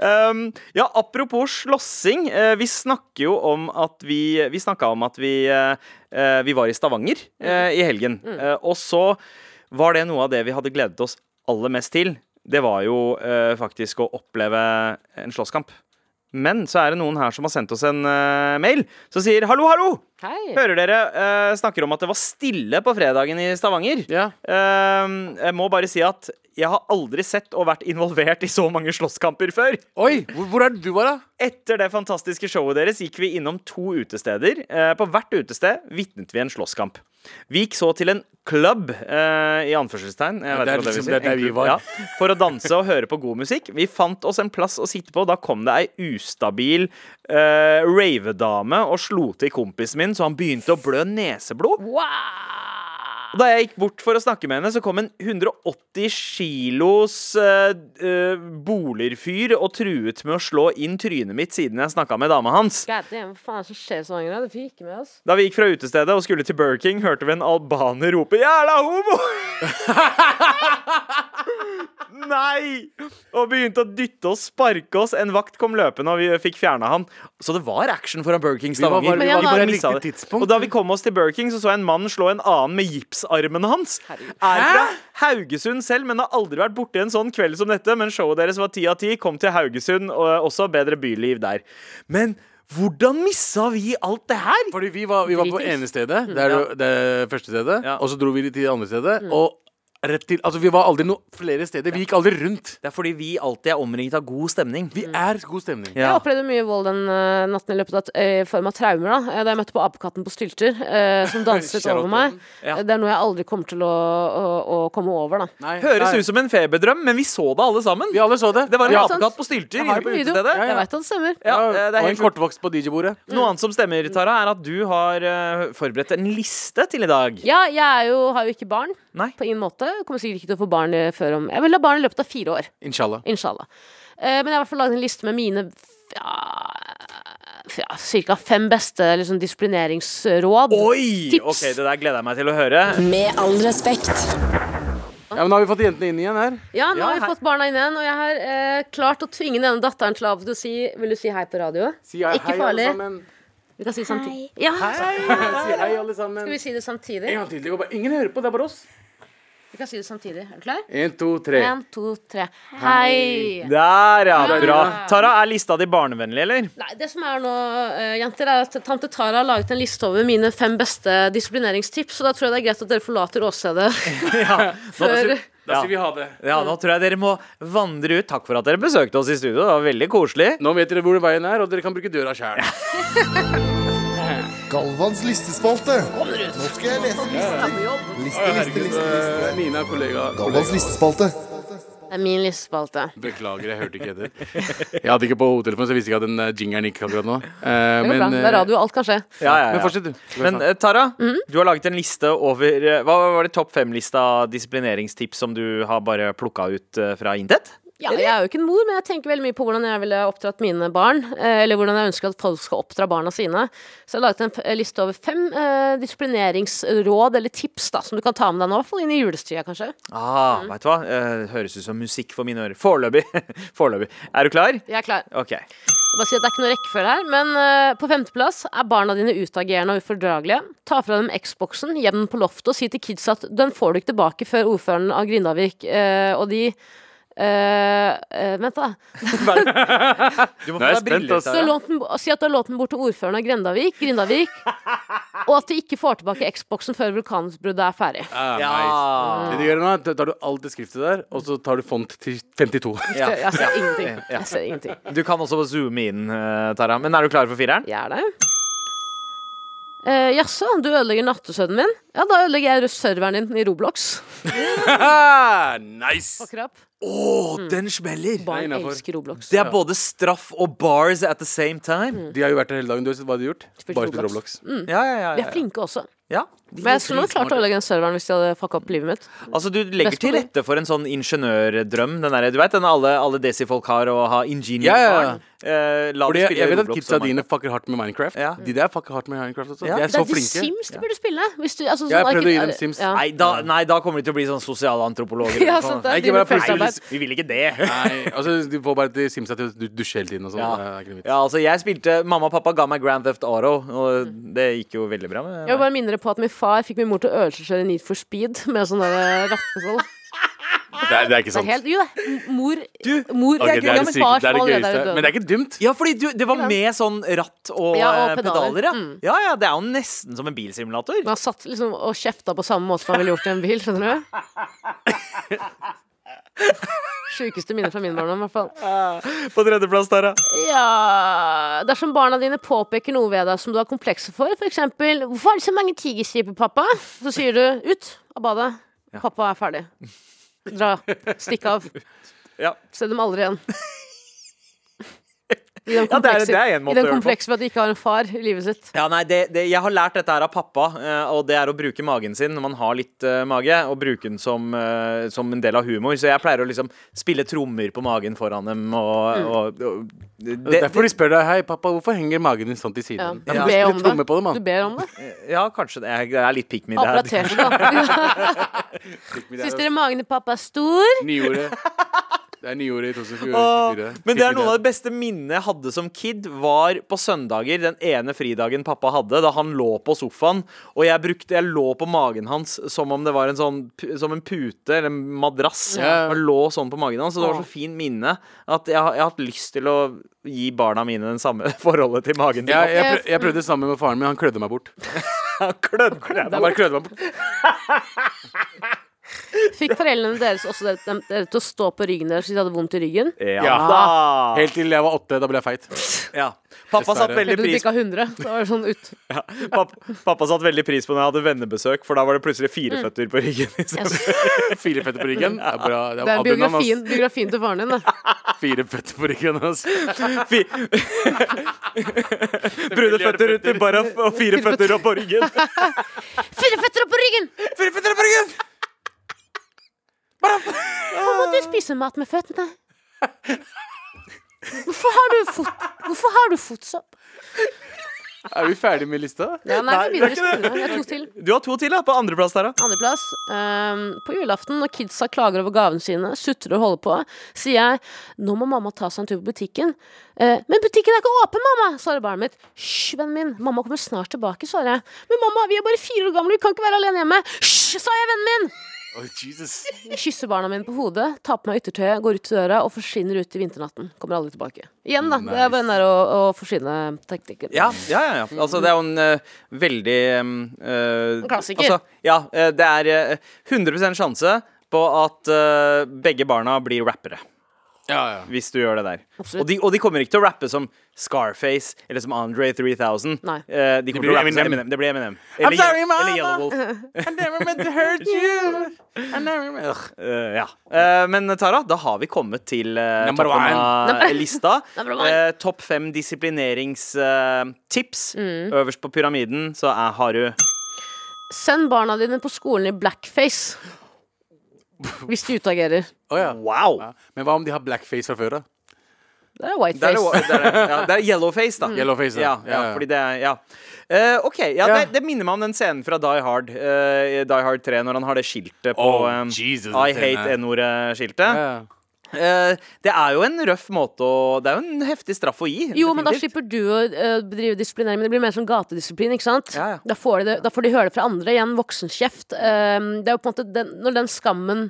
[SPEAKER 2] Um, ja, apropos slåssing. eh, vi snakker jo om at vi Vi snakka om at vi eh, eh, Vi var i Stavanger eh, i helgen. Eh, og så var det noe av det vi hadde gledet oss aller mest til. Det var jo eh, faktisk å oppleve en slåsskamp. Men så er det noen her som har sendt oss en eh, mail som sier 'hallo, hallo'.
[SPEAKER 3] Hei.
[SPEAKER 2] Hører dere eh, snakker om at det var stille på fredagen i Stavanger?
[SPEAKER 4] Ja.
[SPEAKER 2] Ehm, jeg må bare si at jeg har aldri sett og vært involvert i så mange slåsskamper før.
[SPEAKER 4] Oi! Hvor, hvor er det du var, da?
[SPEAKER 2] Etter det fantastiske showet deres gikk vi innom to utesteder. Eh, På hvert utested vitnet vi en slåsskamp. Vi gikk så til en club, eh, i anførselstegn, jeg vet
[SPEAKER 4] det er
[SPEAKER 2] ikke hva det vil
[SPEAKER 4] liksom
[SPEAKER 2] si.
[SPEAKER 4] det der
[SPEAKER 2] En
[SPEAKER 4] vi
[SPEAKER 2] klubb,
[SPEAKER 4] var.
[SPEAKER 2] Ja, for å danse og høre på god musikk. Vi fant oss en plass å sitte på. Da kom det ei ustabil eh, ravedame og slo til kompisen min, så han begynte å blø neseblod. Og Da jeg gikk bort for å snakke med henne, så kom en 180 kilos eh, eh, bolerfyr og truet med å slå inn trynet mitt siden jeg snakka med dama hans.
[SPEAKER 3] God damn, hva faen er det som skjer i Stavanger? da? Det fikk ikke med oss.
[SPEAKER 2] Da vi gikk fra utestedet og skulle til Burger King, hørte vi en albaner rope 'jævla homo'! Nei! Og begynte å dytte oss, sparke oss. En vakt kom løpende, og vi fikk fjerna han. Så det var action foran Burger King
[SPEAKER 4] var
[SPEAKER 2] Stavanger.
[SPEAKER 4] bare-
[SPEAKER 3] vi var bare
[SPEAKER 4] riktig
[SPEAKER 2] missa det.
[SPEAKER 4] tidspunkt.
[SPEAKER 2] Og da vi kom oss til Burger King, så så jeg en mann slå en annen med gipsarmen hans. Er fra Haugesund selv, men har aldri vært borti en sånn kveld som dette. Men showet deres var ti av ti. Kom til Haugesund, og også bedre byliv der. Men hvordan missa vi alt det her?
[SPEAKER 4] Fordi vi var, vi var på
[SPEAKER 3] Dritings.
[SPEAKER 4] ene stedet. Det er jo det første stedet.
[SPEAKER 2] Mm, Ja. Mm.
[SPEAKER 4] Og så dro vi til det andre stedet. Og rett til Altså, vi var aldri noe flere steder. Vi gikk aldri rundt.
[SPEAKER 2] Det er fordi vi alltid er omringet av god stemning.
[SPEAKER 4] Vi er god stemning.
[SPEAKER 2] Mm. Ja.
[SPEAKER 3] Jeg opplevde mye vold den eh, natten i løpet av eh, i form av traumer. Da Eh, Da jeg møtte på apekatten på stylter, eh, som danset
[SPEAKER 4] Shout out
[SPEAKER 3] over meg.
[SPEAKER 2] Ja.
[SPEAKER 3] Eh, Det er noe jeg aldri kommer til å, å, å komme over, da.
[SPEAKER 4] Nei,
[SPEAKER 2] Høres
[SPEAKER 4] nei.
[SPEAKER 2] ut som en feberdrøm, men vi så det alle sammen.
[SPEAKER 4] Vi alle så det.
[SPEAKER 2] Det var en
[SPEAKER 4] ja.
[SPEAKER 3] sant.
[SPEAKER 2] apekatt på stylter
[SPEAKER 3] Jeg har
[SPEAKER 2] inne
[SPEAKER 3] det
[SPEAKER 2] på
[SPEAKER 3] på video.
[SPEAKER 2] utestedet.
[SPEAKER 3] Jeg vet at det stemmer.
[SPEAKER 2] Ja, eh, det er helt
[SPEAKER 4] Og en
[SPEAKER 2] sjukt.
[SPEAKER 4] kortvokst på DJ-bordet.
[SPEAKER 2] Noe annet som stemmer, Tara, er at du har eh, forberedt en liste til i dag.
[SPEAKER 3] Ja, jeg er jo, har jo ikke barn.
[SPEAKER 2] Nei.
[SPEAKER 3] På ingen måte. Kommer sikkert ikke til å få barn eh, før om Jeg vil ha barn i løpet av fire år.
[SPEAKER 4] Inshallah.
[SPEAKER 3] Inshallah. Eh, men jeg har i hvert fall laget en liste med mine f- ja, f- ja, cirka fem beste liksom, disiplineringsråd.
[SPEAKER 2] Oi!
[SPEAKER 3] Tips.
[SPEAKER 2] Ok, det der gleder jeg meg til å høre.
[SPEAKER 1] Med all respekt.
[SPEAKER 4] Ja, men Nå har vi fått jentene inn igjen her.
[SPEAKER 3] Ja, nå
[SPEAKER 2] Ja,
[SPEAKER 3] har vi
[SPEAKER 2] hei.
[SPEAKER 3] fått barna inn igjen, og jeg har eh, klart å tvinge denne datteren til Abu til å si Vil du si hei på radio?
[SPEAKER 4] Si hei,
[SPEAKER 3] Ikke
[SPEAKER 4] hei,
[SPEAKER 3] farlig.
[SPEAKER 4] alle sammen.
[SPEAKER 3] Vi kan si det samtidig. Ja,
[SPEAKER 4] si hei, alle sammen.
[SPEAKER 3] skal vi si det samtidig?
[SPEAKER 4] En gang til. det går bare- Ingen hører på, det er bare oss.
[SPEAKER 3] Vi kan si det samtidig. Er du klar?
[SPEAKER 4] En, to, tre.
[SPEAKER 3] En, to, tre. Hei.
[SPEAKER 2] Der, ja. Bra. Tara, er lista di barnevennlig, eller?
[SPEAKER 3] Nei, det som er nå, eh, jenter, er at tante Tara la ut en liste over mine fem beste disiplineringstips, så da tror jeg det er greit at dere forlater åstedet.
[SPEAKER 2] Nå,
[SPEAKER 3] Før-
[SPEAKER 4] Da sier vi ha det.
[SPEAKER 2] ja, nå tror jeg dere må vandre ut. Takk for at dere besøkte oss i studio. Det var veldig koselig.
[SPEAKER 4] Nå vet dere hvor veien er, og dere kan bruke døra sjæl.
[SPEAKER 5] Galvans listespalte. Nå skal jeg lese liste. Liste, liste, liste.
[SPEAKER 4] eh, Nina, kollega.
[SPEAKER 5] Galvans listespalte.
[SPEAKER 3] Det er min listespalte.
[SPEAKER 4] Beklager, jeg hørte ikke etter. Jeg hadde ikke på hodetelefonen, så jeg visste ikke at den eh, jingeren gikk akkurat nå. Eh,
[SPEAKER 3] Det går bra. Det er radio, alt kan skje.
[SPEAKER 2] Ja, ja, ja.
[SPEAKER 4] Men fortsett, du.
[SPEAKER 2] Men eh, Tara, du har laget en liste over eh, Hva var det topp fem-lista av disiplineringstips som du har bare plukka ut eh, fra intet?
[SPEAKER 3] Ja, jeg er jo ikke en mor, men jeg tenker veldig mye på hvordan jeg ville oppdratt mine barn. eh, Eller hvordan jeg ønsker at folk skal oppdra barna sine. Så jeg har laget en f- liste over fem eh, disiplineringsråd eller tips da, som du kan ta med deg nå, i hvert fall inn i julestida, kanskje.
[SPEAKER 2] Ah, vet du hva? Eh, høres ut som musikk for mine ører. Foreløpig. Foreløpig. Er du klar?
[SPEAKER 3] Jeg er klar.
[SPEAKER 2] OK.
[SPEAKER 3] Bare si at det er ikke noe rekkefølge her, men eh, på femteplass er barna dine utagerende og ufordragelige. Ta fra dem Xboxen, gjem den på loftet og si til kidsa at den får du ikke tilbake før ordføreren av Grindavik eh, og de eh, eh, vent, da.
[SPEAKER 2] Du må
[SPEAKER 4] Nå er jeg spent, ass.
[SPEAKER 3] altså. Så lånt den, og si at du har lånt den bort til ordføreren av Grendavik, Grindavik, og at de ikke får tilbake Xboxen før vulkanutbruddet er ferdig.
[SPEAKER 4] Ah, nice.
[SPEAKER 2] Ja.
[SPEAKER 4] Det du gjør nå, er at tar du alt det skriftet der, og så tar du font til 52.
[SPEAKER 2] ja.
[SPEAKER 3] Jeg ser ingenting. Jeg ser ingenting.
[SPEAKER 2] Du kan også zoome inn, eh, Tara. Men er du klar for fireren?
[SPEAKER 3] Jeg er det. Eh, Jaså, du ødelegger nattesøvnen min? Ja, da ødelegger jeg serveren din i Roblox.
[SPEAKER 4] Ah, nice!
[SPEAKER 3] Fucker up.
[SPEAKER 2] Den smeller!
[SPEAKER 4] Det
[SPEAKER 3] Barn
[SPEAKER 4] er innenfor.
[SPEAKER 3] elsker Roblox.
[SPEAKER 2] Det er både straff og bars at the same time.
[SPEAKER 4] De har jo vært der hele dagen. Du har sett hva de har gjort?
[SPEAKER 3] Spilt
[SPEAKER 4] Bare spilt
[SPEAKER 3] Roblox.
[SPEAKER 4] Roblox.
[SPEAKER 2] Ja, ja, ja,
[SPEAKER 3] De
[SPEAKER 2] ja.
[SPEAKER 3] er flinke også.
[SPEAKER 2] ja.
[SPEAKER 3] Men jeg skulle nok klart å ødelegge den serveren hvis de hadde fucka opp livet mitt.
[SPEAKER 2] Altså, du legger
[SPEAKER 3] Best
[SPEAKER 2] til
[SPEAKER 3] på det.
[SPEAKER 2] rette for en sånn ingeniørdrøm. Den der, du vet den alle, alle desifolk har, å ha
[SPEAKER 4] Ja, ja, ja.
[SPEAKER 2] ingeniørfaren. Eh, la
[SPEAKER 4] Fordi
[SPEAKER 2] det
[SPEAKER 4] jeg,
[SPEAKER 2] spille
[SPEAKER 4] jeg vet at
[SPEAKER 2] Roblox
[SPEAKER 4] kidsa
[SPEAKER 2] og
[SPEAKER 4] dine fucker hardt med Minecraft.
[SPEAKER 2] Ja.
[SPEAKER 4] De der fucker hardt med Minecraft også.
[SPEAKER 2] Ja.
[SPEAKER 4] De er
[SPEAKER 3] Det
[SPEAKER 4] så
[SPEAKER 3] er The
[SPEAKER 4] flinke.
[SPEAKER 3] Sims du burde spille. Hvis du, altså,
[SPEAKER 4] Jeg
[SPEAKER 3] sånn
[SPEAKER 4] prøvde å gi
[SPEAKER 3] arki-
[SPEAKER 4] dem Sims.
[SPEAKER 3] Ja.
[SPEAKER 2] Nei da, nei, da kommer de til å bli sånn sosialantropologer.
[SPEAKER 3] Ja,
[SPEAKER 2] eller noe
[SPEAKER 3] sant
[SPEAKER 2] sånt.
[SPEAKER 3] det.
[SPEAKER 4] Nei,
[SPEAKER 3] er
[SPEAKER 4] ikke
[SPEAKER 3] dine
[SPEAKER 4] bare
[SPEAKER 2] Nei, vi,
[SPEAKER 3] feltarbeid.
[SPEAKER 2] vil- vi vil ikke det.
[SPEAKER 4] Nei, altså, du får bare til Sims at du du dusjer hele tiden og sånn.
[SPEAKER 2] Ja.
[SPEAKER 4] Det er ikke noe vits.
[SPEAKER 2] Ja, altså, jeg spilte Mamma og pappa ga meg Grand Theft Auto, og
[SPEAKER 3] Mm.
[SPEAKER 2] det gikk jo veldig bra. Med
[SPEAKER 3] Jeg vil bare minne dere på at min far fikk min mor til å øvelseskjøre Need for speed med sånn der rattesål.
[SPEAKER 4] Det, er, det er ikke
[SPEAKER 3] Det er
[SPEAKER 4] sant.
[SPEAKER 3] helt Jo, det er mor
[SPEAKER 2] Du,
[SPEAKER 3] Mor
[SPEAKER 4] Ok, det er det,
[SPEAKER 3] min
[SPEAKER 4] syke,
[SPEAKER 3] far
[SPEAKER 4] det, er
[SPEAKER 3] som
[SPEAKER 4] det
[SPEAKER 3] allerede
[SPEAKER 4] gøyeste.
[SPEAKER 3] er død.
[SPEAKER 4] Men det er ikke dumt.
[SPEAKER 2] ja, fordi du, det var med sånn ratt og,
[SPEAKER 3] Ja, og
[SPEAKER 2] eh,
[SPEAKER 3] pedaler. Mm.
[SPEAKER 2] pedaler. Ja. ja, ja, det er jo nesten som en bilsimulator.
[SPEAKER 3] Men han satt liksom og kjefta på samme måte som han ville gjort i en bil, skjønner du? Sjukeste minne fra min barndom, i hvert fall.
[SPEAKER 2] På tredjeplass, Tara.
[SPEAKER 3] Ja Dersom barna dine påpeker noe ved deg som du har komplekser for, f.eks.: 'Hvorfor er det så mange tigerstriper, pappa?' Så sier du 'Ut av badet. Pappa er ferdig. Dra. Stikk av.
[SPEAKER 2] Ja.
[SPEAKER 3] Se dem aldri igjen. I den
[SPEAKER 2] Ja, det er- det er en måte
[SPEAKER 3] komplekser- i den
[SPEAKER 2] å gjøre det på.
[SPEAKER 3] kompleksen ved at de ikke har en far i livet sitt.
[SPEAKER 2] Ja, nei, det, det, Jeg har lært dette her av pappa, eh, og det er å bruke magen sin når man har litt eh, mage, og bruke den som, eh, som en del av humor. Så jeg pleier å liksom spille trommer på magen foran dem og, og, og det,
[SPEAKER 4] Det, Derfor de spør deg Hei pappa, hvorfor henger magen din sånn til
[SPEAKER 3] Ja.
[SPEAKER 4] siden.
[SPEAKER 3] Du,
[SPEAKER 4] Ja.
[SPEAKER 3] ber om
[SPEAKER 4] Litt tromme
[SPEAKER 3] det.
[SPEAKER 4] på det,
[SPEAKER 3] du
[SPEAKER 4] mann.
[SPEAKER 3] ber om det.
[SPEAKER 2] Ja, kanskje det. Jeg er litt pick me
[SPEAKER 3] Apparaterte
[SPEAKER 2] dad.
[SPEAKER 3] det, da. Syns dere magen til pappa er stor?
[SPEAKER 4] Nyordet. Det er nyordet i 2024.
[SPEAKER 2] Men det er noen av det beste minnet jeg hadde som kid, var på søndager, den ene fridagen pappa hadde, da han lå på sofaen, og jeg brukte Jeg lå på magen hans som om det var en sånn pu- Som en pute eller en madrass.
[SPEAKER 4] Ja.
[SPEAKER 2] Jeg lå sånn på magen hans, og det var så fint minne at jeg, har- jeg har hatt lyst til å gi barna mine den samme forholdet til magen. til
[SPEAKER 4] Ja,
[SPEAKER 2] pappa.
[SPEAKER 4] jeg, prøv, jeg prøvde det samme med faren min, han klødde meg bort.
[SPEAKER 2] Han klødde.
[SPEAKER 4] Han bare klødde meg bort.
[SPEAKER 3] Fikk foreldrene deres også dere, dem- dere til å stå på ryggen deres hvis de hadde vondt i ryggen?
[SPEAKER 2] Ja,
[SPEAKER 4] Ja.
[SPEAKER 2] da.
[SPEAKER 4] Helt til jeg var åtte, da ble jeg feit.
[SPEAKER 2] Ja. Pappa satt
[SPEAKER 4] Dessverre.
[SPEAKER 2] veldig
[SPEAKER 3] Helt til du
[SPEAKER 2] pris
[SPEAKER 3] bikka 100. Da var det sånn ut.
[SPEAKER 2] Pappa, pappa satt veldig pris på når jeg hadde vennebesøk, for da var det plutselig
[SPEAKER 4] Mm.
[SPEAKER 2] fire føtter på ryggen. Liksom.
[SPEAKER 4] Fire føtter på ryggen. Det er bra. Det
[SPEAKER 3] Det
[SPEAKER 4] er
[SPEAKER 3] er
[SPEAKER 4] albuen hans.
[SPEAKER 3] biografien, biografien til faren din, da.
[SPEAKER 4] Fire føtter på ryggen hans.
[SPEAKER 2] Fi Brune føtter ut i baraff og fire føtter opp på ryggen.
[SPEAKER 3] Fire føtter opp på ryggen!
[SPEAKER 2] Fire føtter opp på ryggen!
[SPEAKER 3] Hvorfor må du spise mat med føttene? Hvorfor har du fot... Hvorfor har du fotsopp?
[SPEAKER 4] Er vi ferdig med lista?
[SPEAKER 3] Ja, nei, vi
[SPEAKER 2] Nei,
[SPEAKER 3] begynner
[SPEAKER 2] det
[SPEAKER 3] å
[SPEAKER 2] er ikke
[SPEAKER 3] skrive. Jeg har to til.
[SPEAKER 2] Du har to til, da. På andreplass der, da.
[SPEAKER 3] Andreplass. ehm, på julaften, når kidsa klager over gavene sine, sutrer og holder på, sier jeg 'Nå må mamma ta seg en tur på butikken'. Eh, 'Men butikken er ikke åpen, mamma', svarer barnet mitt. 'Hysj, vennen min, mamma kommer snart tilbake', svarer jeg. 'Men mamma, vi er bare fire år gamle, vi kan ikke være alene hjemme'. 'Hysj', sa jeg, vennen min.
[SPEAKER 4] Oh, Jesus.
[SPEAKER 3] Jeg kysser barna mine på hodet, tar på meg yttertøyet, går ut døra og forsvinner ut i vinternatten. Kommer aldri tilbake. Igjen, da. Det er bare den der å, å forsvinne-teknikken.
[SPEAKER 2] Ja, ja, ja. ja. Altså, det er jo en eh, veldig eh,
[SPEAKER 3] En klassiker.
[SPEAKER 2] Altså, ja, eh, det er eh, 100 sjanse på at eh, begge barna blir rappere.
[SPEAKER 4] Ja, ja.
[SPEAKER 2] hvis du gjør det der.
[SPEAKER 3] Absolutt.
[SPEAKER 2] Og de, og de kommer ikke til å rappe som Scarface eller som Andre 3000.
[SPEAKER 3] Nei.
[SPEAKER 2] Eh, de kommer til
[SPEAKER 4] blir
[SPEAKER 2] å rappe som
[SPEAKER 4] Eminem.
[SPEAKER 2] Eminem. Det blir Eminem. Eller, Ye-
[SPEAKER 4] sorry, mama.
[SPEAKER 2] eller Yellow Wolf.
[SPEAKER 4] I never meant to hurt you. I never meant Ugh.
[SPEAKER 2] Eh, ja. Eh, men Tara, da har vi kommet til eh,
[SPEAKER 4] Number
[SPEAKER 2] toppen
[SPEAKER 4] one.
[SPEAKER 2] av lista.
[SPEAKER 3] Number one.
[SPEAKER 2] Eh, Topp fem disiplineringstips.
[SPEAKER 4] Mm.
[SPEAKER 2] Øverst på pyramiden så er, har du
[SPEAKER 3] Send barna dine på skolen i blackface. Hvis de utagerer.
[SPEAKER 4] Å, ja.
[SPEAKER 2] Wow!
[SPEAKER 4] Ja. Men hva om de har blackface fra før, da?
[SPEAKER 3] Det er
[SPEAKER 2] Det er,
[SPEAKER 3] whiteface.
[SPEAKER 2] det er, ja, det er yellowface, da.
[SPEAKER 4] Yellowface,
[SPEAKER 2] ja.
[SPEAKER 4] ja.
[SPEAKER 2] Ja,
[SPEAKER 4] Ja, ja.
[SPEAKER 2] fordi det er Ja. Eh, OK. Ja,
[SPEAKER 4] Ja.
[SPEAKER 2] Det, det minner meg om den scenen fra Die Hard, eh, i Die Hard 3, når han har det skiltet på
[SPEAKER 4] Oh,
[SPEAKER 2] eh,
[SPEAKER 4] Jesus,
[SPEAKER 2] I
[SPEAKER 4] den scenen
[SPEAKER 2] hate
[SPEAKER 4] her.
[SPEAKER 2] N-ordet-skiltet.
[SPEAKER 4] Ja.
[SPEAKER 2] Eh, det er jo en røff måte å Det er jo en heftig straff å gi.
[SPEAKER 3] Jo, men da
[SPEAKER 2] definitivt.
[SPEAKER 3] slipper du å eh, bedrive disiplinering. Men det blir mer sånn gatedisiplin, ikke sant?
[SPEAKER 2] Ja, ja.
[SPEAKER 3] Da, får de det, da får de høre det fra andre. Igjen voksenkjeft. Eh, det er jo på en måte den, når den skammen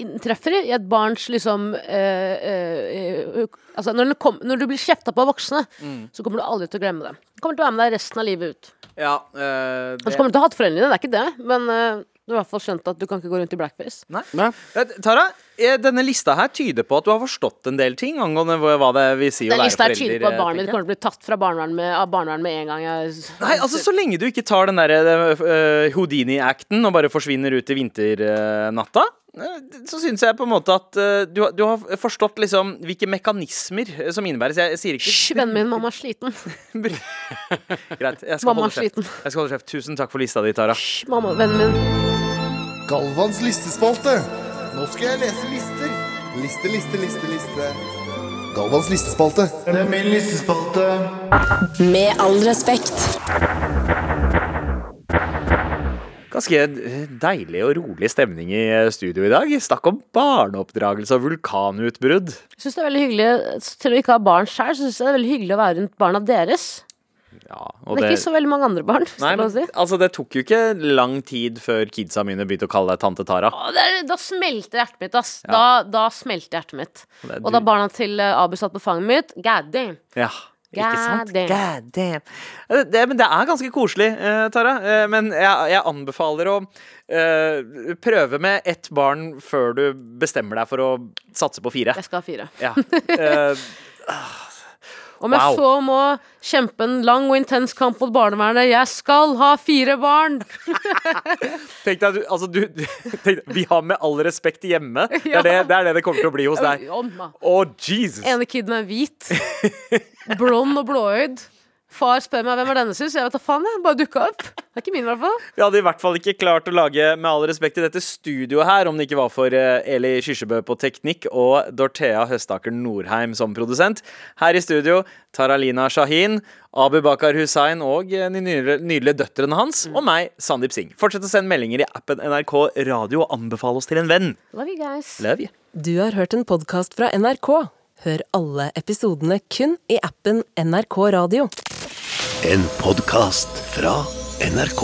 [SPEAKER 3] inntreffer i et barns liksom eh, eh, eh, Altså når, den kom, når du blir kjefta på av voksne,
[SPEAKER 2] Mm.
[SPEAKER 3] så kommer du aldri til å glemme det. Du kommer til å være med deg resten av livet ut.
[SPEAKER 2] ja, eh,
[SPEAKER 3] Og så
[SPEAKER 2] det.
[SPEAKER 3] kommer du til å hate foreldrene dine, det er ikke det, men eh, du har i hvert fall skjønt at du kan ikke gå rundt i blackface.
[SPEAKER 2] Nei.
[SPEAKER 4] Nei.
[SPEAKER 2] Eh, Tara, eh, denne lista her tyder på at du har forstått en del ting angående hva hva det vil si å
[SPEAKER 3] Den
[SPEAKER 2] være
[SPEAKER 3] lista
[SPEAKER 2] forelder.
[SPEAKER 3] her tyder på at
[SPEAKER 2] eh,
[SPEAKER 3] barnet
[SPEAKER 2] tenker
[SPEAKER 3] ditt
[SPEAKER 2] jeg.
[SPEAKER 3] kommer til å bli tatt fra barnevernet med, av barnevernet med en gang. Jeg,
[SPEAKER 2] Nei, altså Så lenge du ikke tar den der eh, eh, Houdini-acten og bare forsvinner ut i vinternatta, eh, så syns jeg på en måte at eh, du, har- du har forstått liksom hvilke mekanismer eh, som innebæres. Jeg, jeg sier ikke
[SPEAKER 3] Hysj, vennen min, mamma er sliten.
[SPEAKER 2] Greit, jeg skal,
[SPEAKER 3] Mamma
[SPEAKER 2] holde
[SPEAKER 3] er
[SPEAKER 2] kjeft.
[SPEAKER 3] sliten.
[SPEAKER 2] jeg skal holde kjeft. Tusen takk for lista di, Tara.
[SPEAKER 3] Hysj, mamma, vennen min.
[SPEAKER 7] Galvans listespalte. Nå skal jeg lese lister. Liste, liste, liste, liste. Galvans listespalte.
[SPEAKER 8] Det er min listespalte.
[SPEAKER 1] Med all respekt.
[SPEAKER 2] Ganske eh, deilig og rolig stemning i eh, studio i dag. Snakk om barneoppdragelse og vulkanutbrudd.
[SPEAKER 3] Jeg synes det er veldig hyggelig Til å ikke ha barn selv, så synes jeg det er veldig hyggelig å være rundt barna deres.
[SPEAKER 2] Ja,
[SPEAKER 3] Det er ikke så veldig mange andre barn. hvis
[SPEAKER 2] Nei,
[SPEAKER 3] det er
[SPEAKER 2] men,
[SPEAKER 3] lov å si.
[SPEAKER 2] altså, det tok jo ikke lang tid før kidsa mine begynte å kalle deg tante Tara.
[SPEAKER 3] Å, det er, da smelter hjertet mitt, ass. Da, da smelter hjertet mitt.
[SPEAKER 2] er
[SPEAKER 3] Og da
[SPEAKER 2] du-
[SPEAKER 3] barna til eh, Abu satt på fanget mitt, god damn.
[SPEAKER 2] Ja, ikke sant?
[SPEAKER 3] God damn.
[SPEAKER 2] God damn. Eh, Det, men det er ganske koselig, eh, Tara. Eh, men jeg, jeg anbefaler å eh, prøve med ett barn før du bestemmer deg for å satse på fire.
[SPEAKER 3] Jeg skal ha fire.
[SPEAKER 2] Ja. Eh,
[SPEAKER 3] Om jeg
[SPEAKER 2] Wow.
[SPEAKER 3] så må kjempe en lang og intens kamp mot barnevernet, jeg skal ha fire barn!
[SPEAKER 2] tenk deg, at du, altså, du tenk, Vi har med all respekt hjemme. Det er det det, er det, det kommer til å bli hos deg.
[SPEAKER 3] Om, da.
[SPEAKER 2] Å, Jesus!
[SPEAKER 3] Ene kiden er hvit, blond og blåøyd. Far spør meg hvem er denne, synes jeg. vet da faen, jeg. Bare dukka opp. Det er ikke min, i hvert fall.
[SPEAKER 2] Vi hadde i hvert fall ikke klart å lage Med all respekt i dette studioet her om det ikke var for eh, Eli Kyrkjebø på teknikk og Dorthea Høstaker Norheim som produsent. Her i studio Taralina Shahin, Abu Bakar Hussein og eh, de nydelige, nydelige døtrene hans. Og meg, Sandeep Singh. Fortsett å sende meldinger i appen NRK Radio og anbefale oss til en venn.
[SPEAKER 3] Love you guys.
[SPEAKER 2] Love you.
[SPEAKER 9] Du har hørt en podkast fra NRK. Hør alle episodene kun i appen NRK Radio.
[SPEAKER 6] En podkast fra NRK.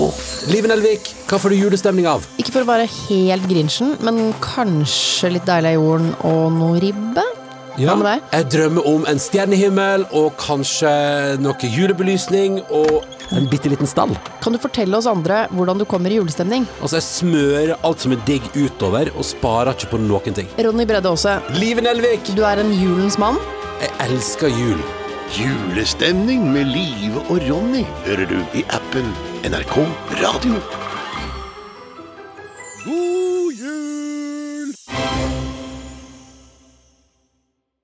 [SPEAKER 10] Liven Elvik, hva får du julestemning av?
[SPEAKER 11] Ikke for å være helt grinchen, men kanskje litt deilig av jorden og noe ribbe? Hva med deg?
[SPEAKER 10] Jeg drømmer om en stjernehimmel og kanskje noe julebelysning og en bitte liten stall.
[SPEAKER 11] Kan du fortelle oss andre hvordan du kommer i julestemning?
[SPEAKER 10] Altså, jeg smører alt som er digg utover og sparer ikke på noen ting.
[SPEAKER 11] Ronny Bredde Aase,
[SPEAKER 10] Liven Elvik,
[SPEAKER 11] du er en julens mann.
[SPEAKER 10] jeg elsker jul.
[SPEAKER 5] Julestemning med Live og Ronny hører du i appen NRK Radio.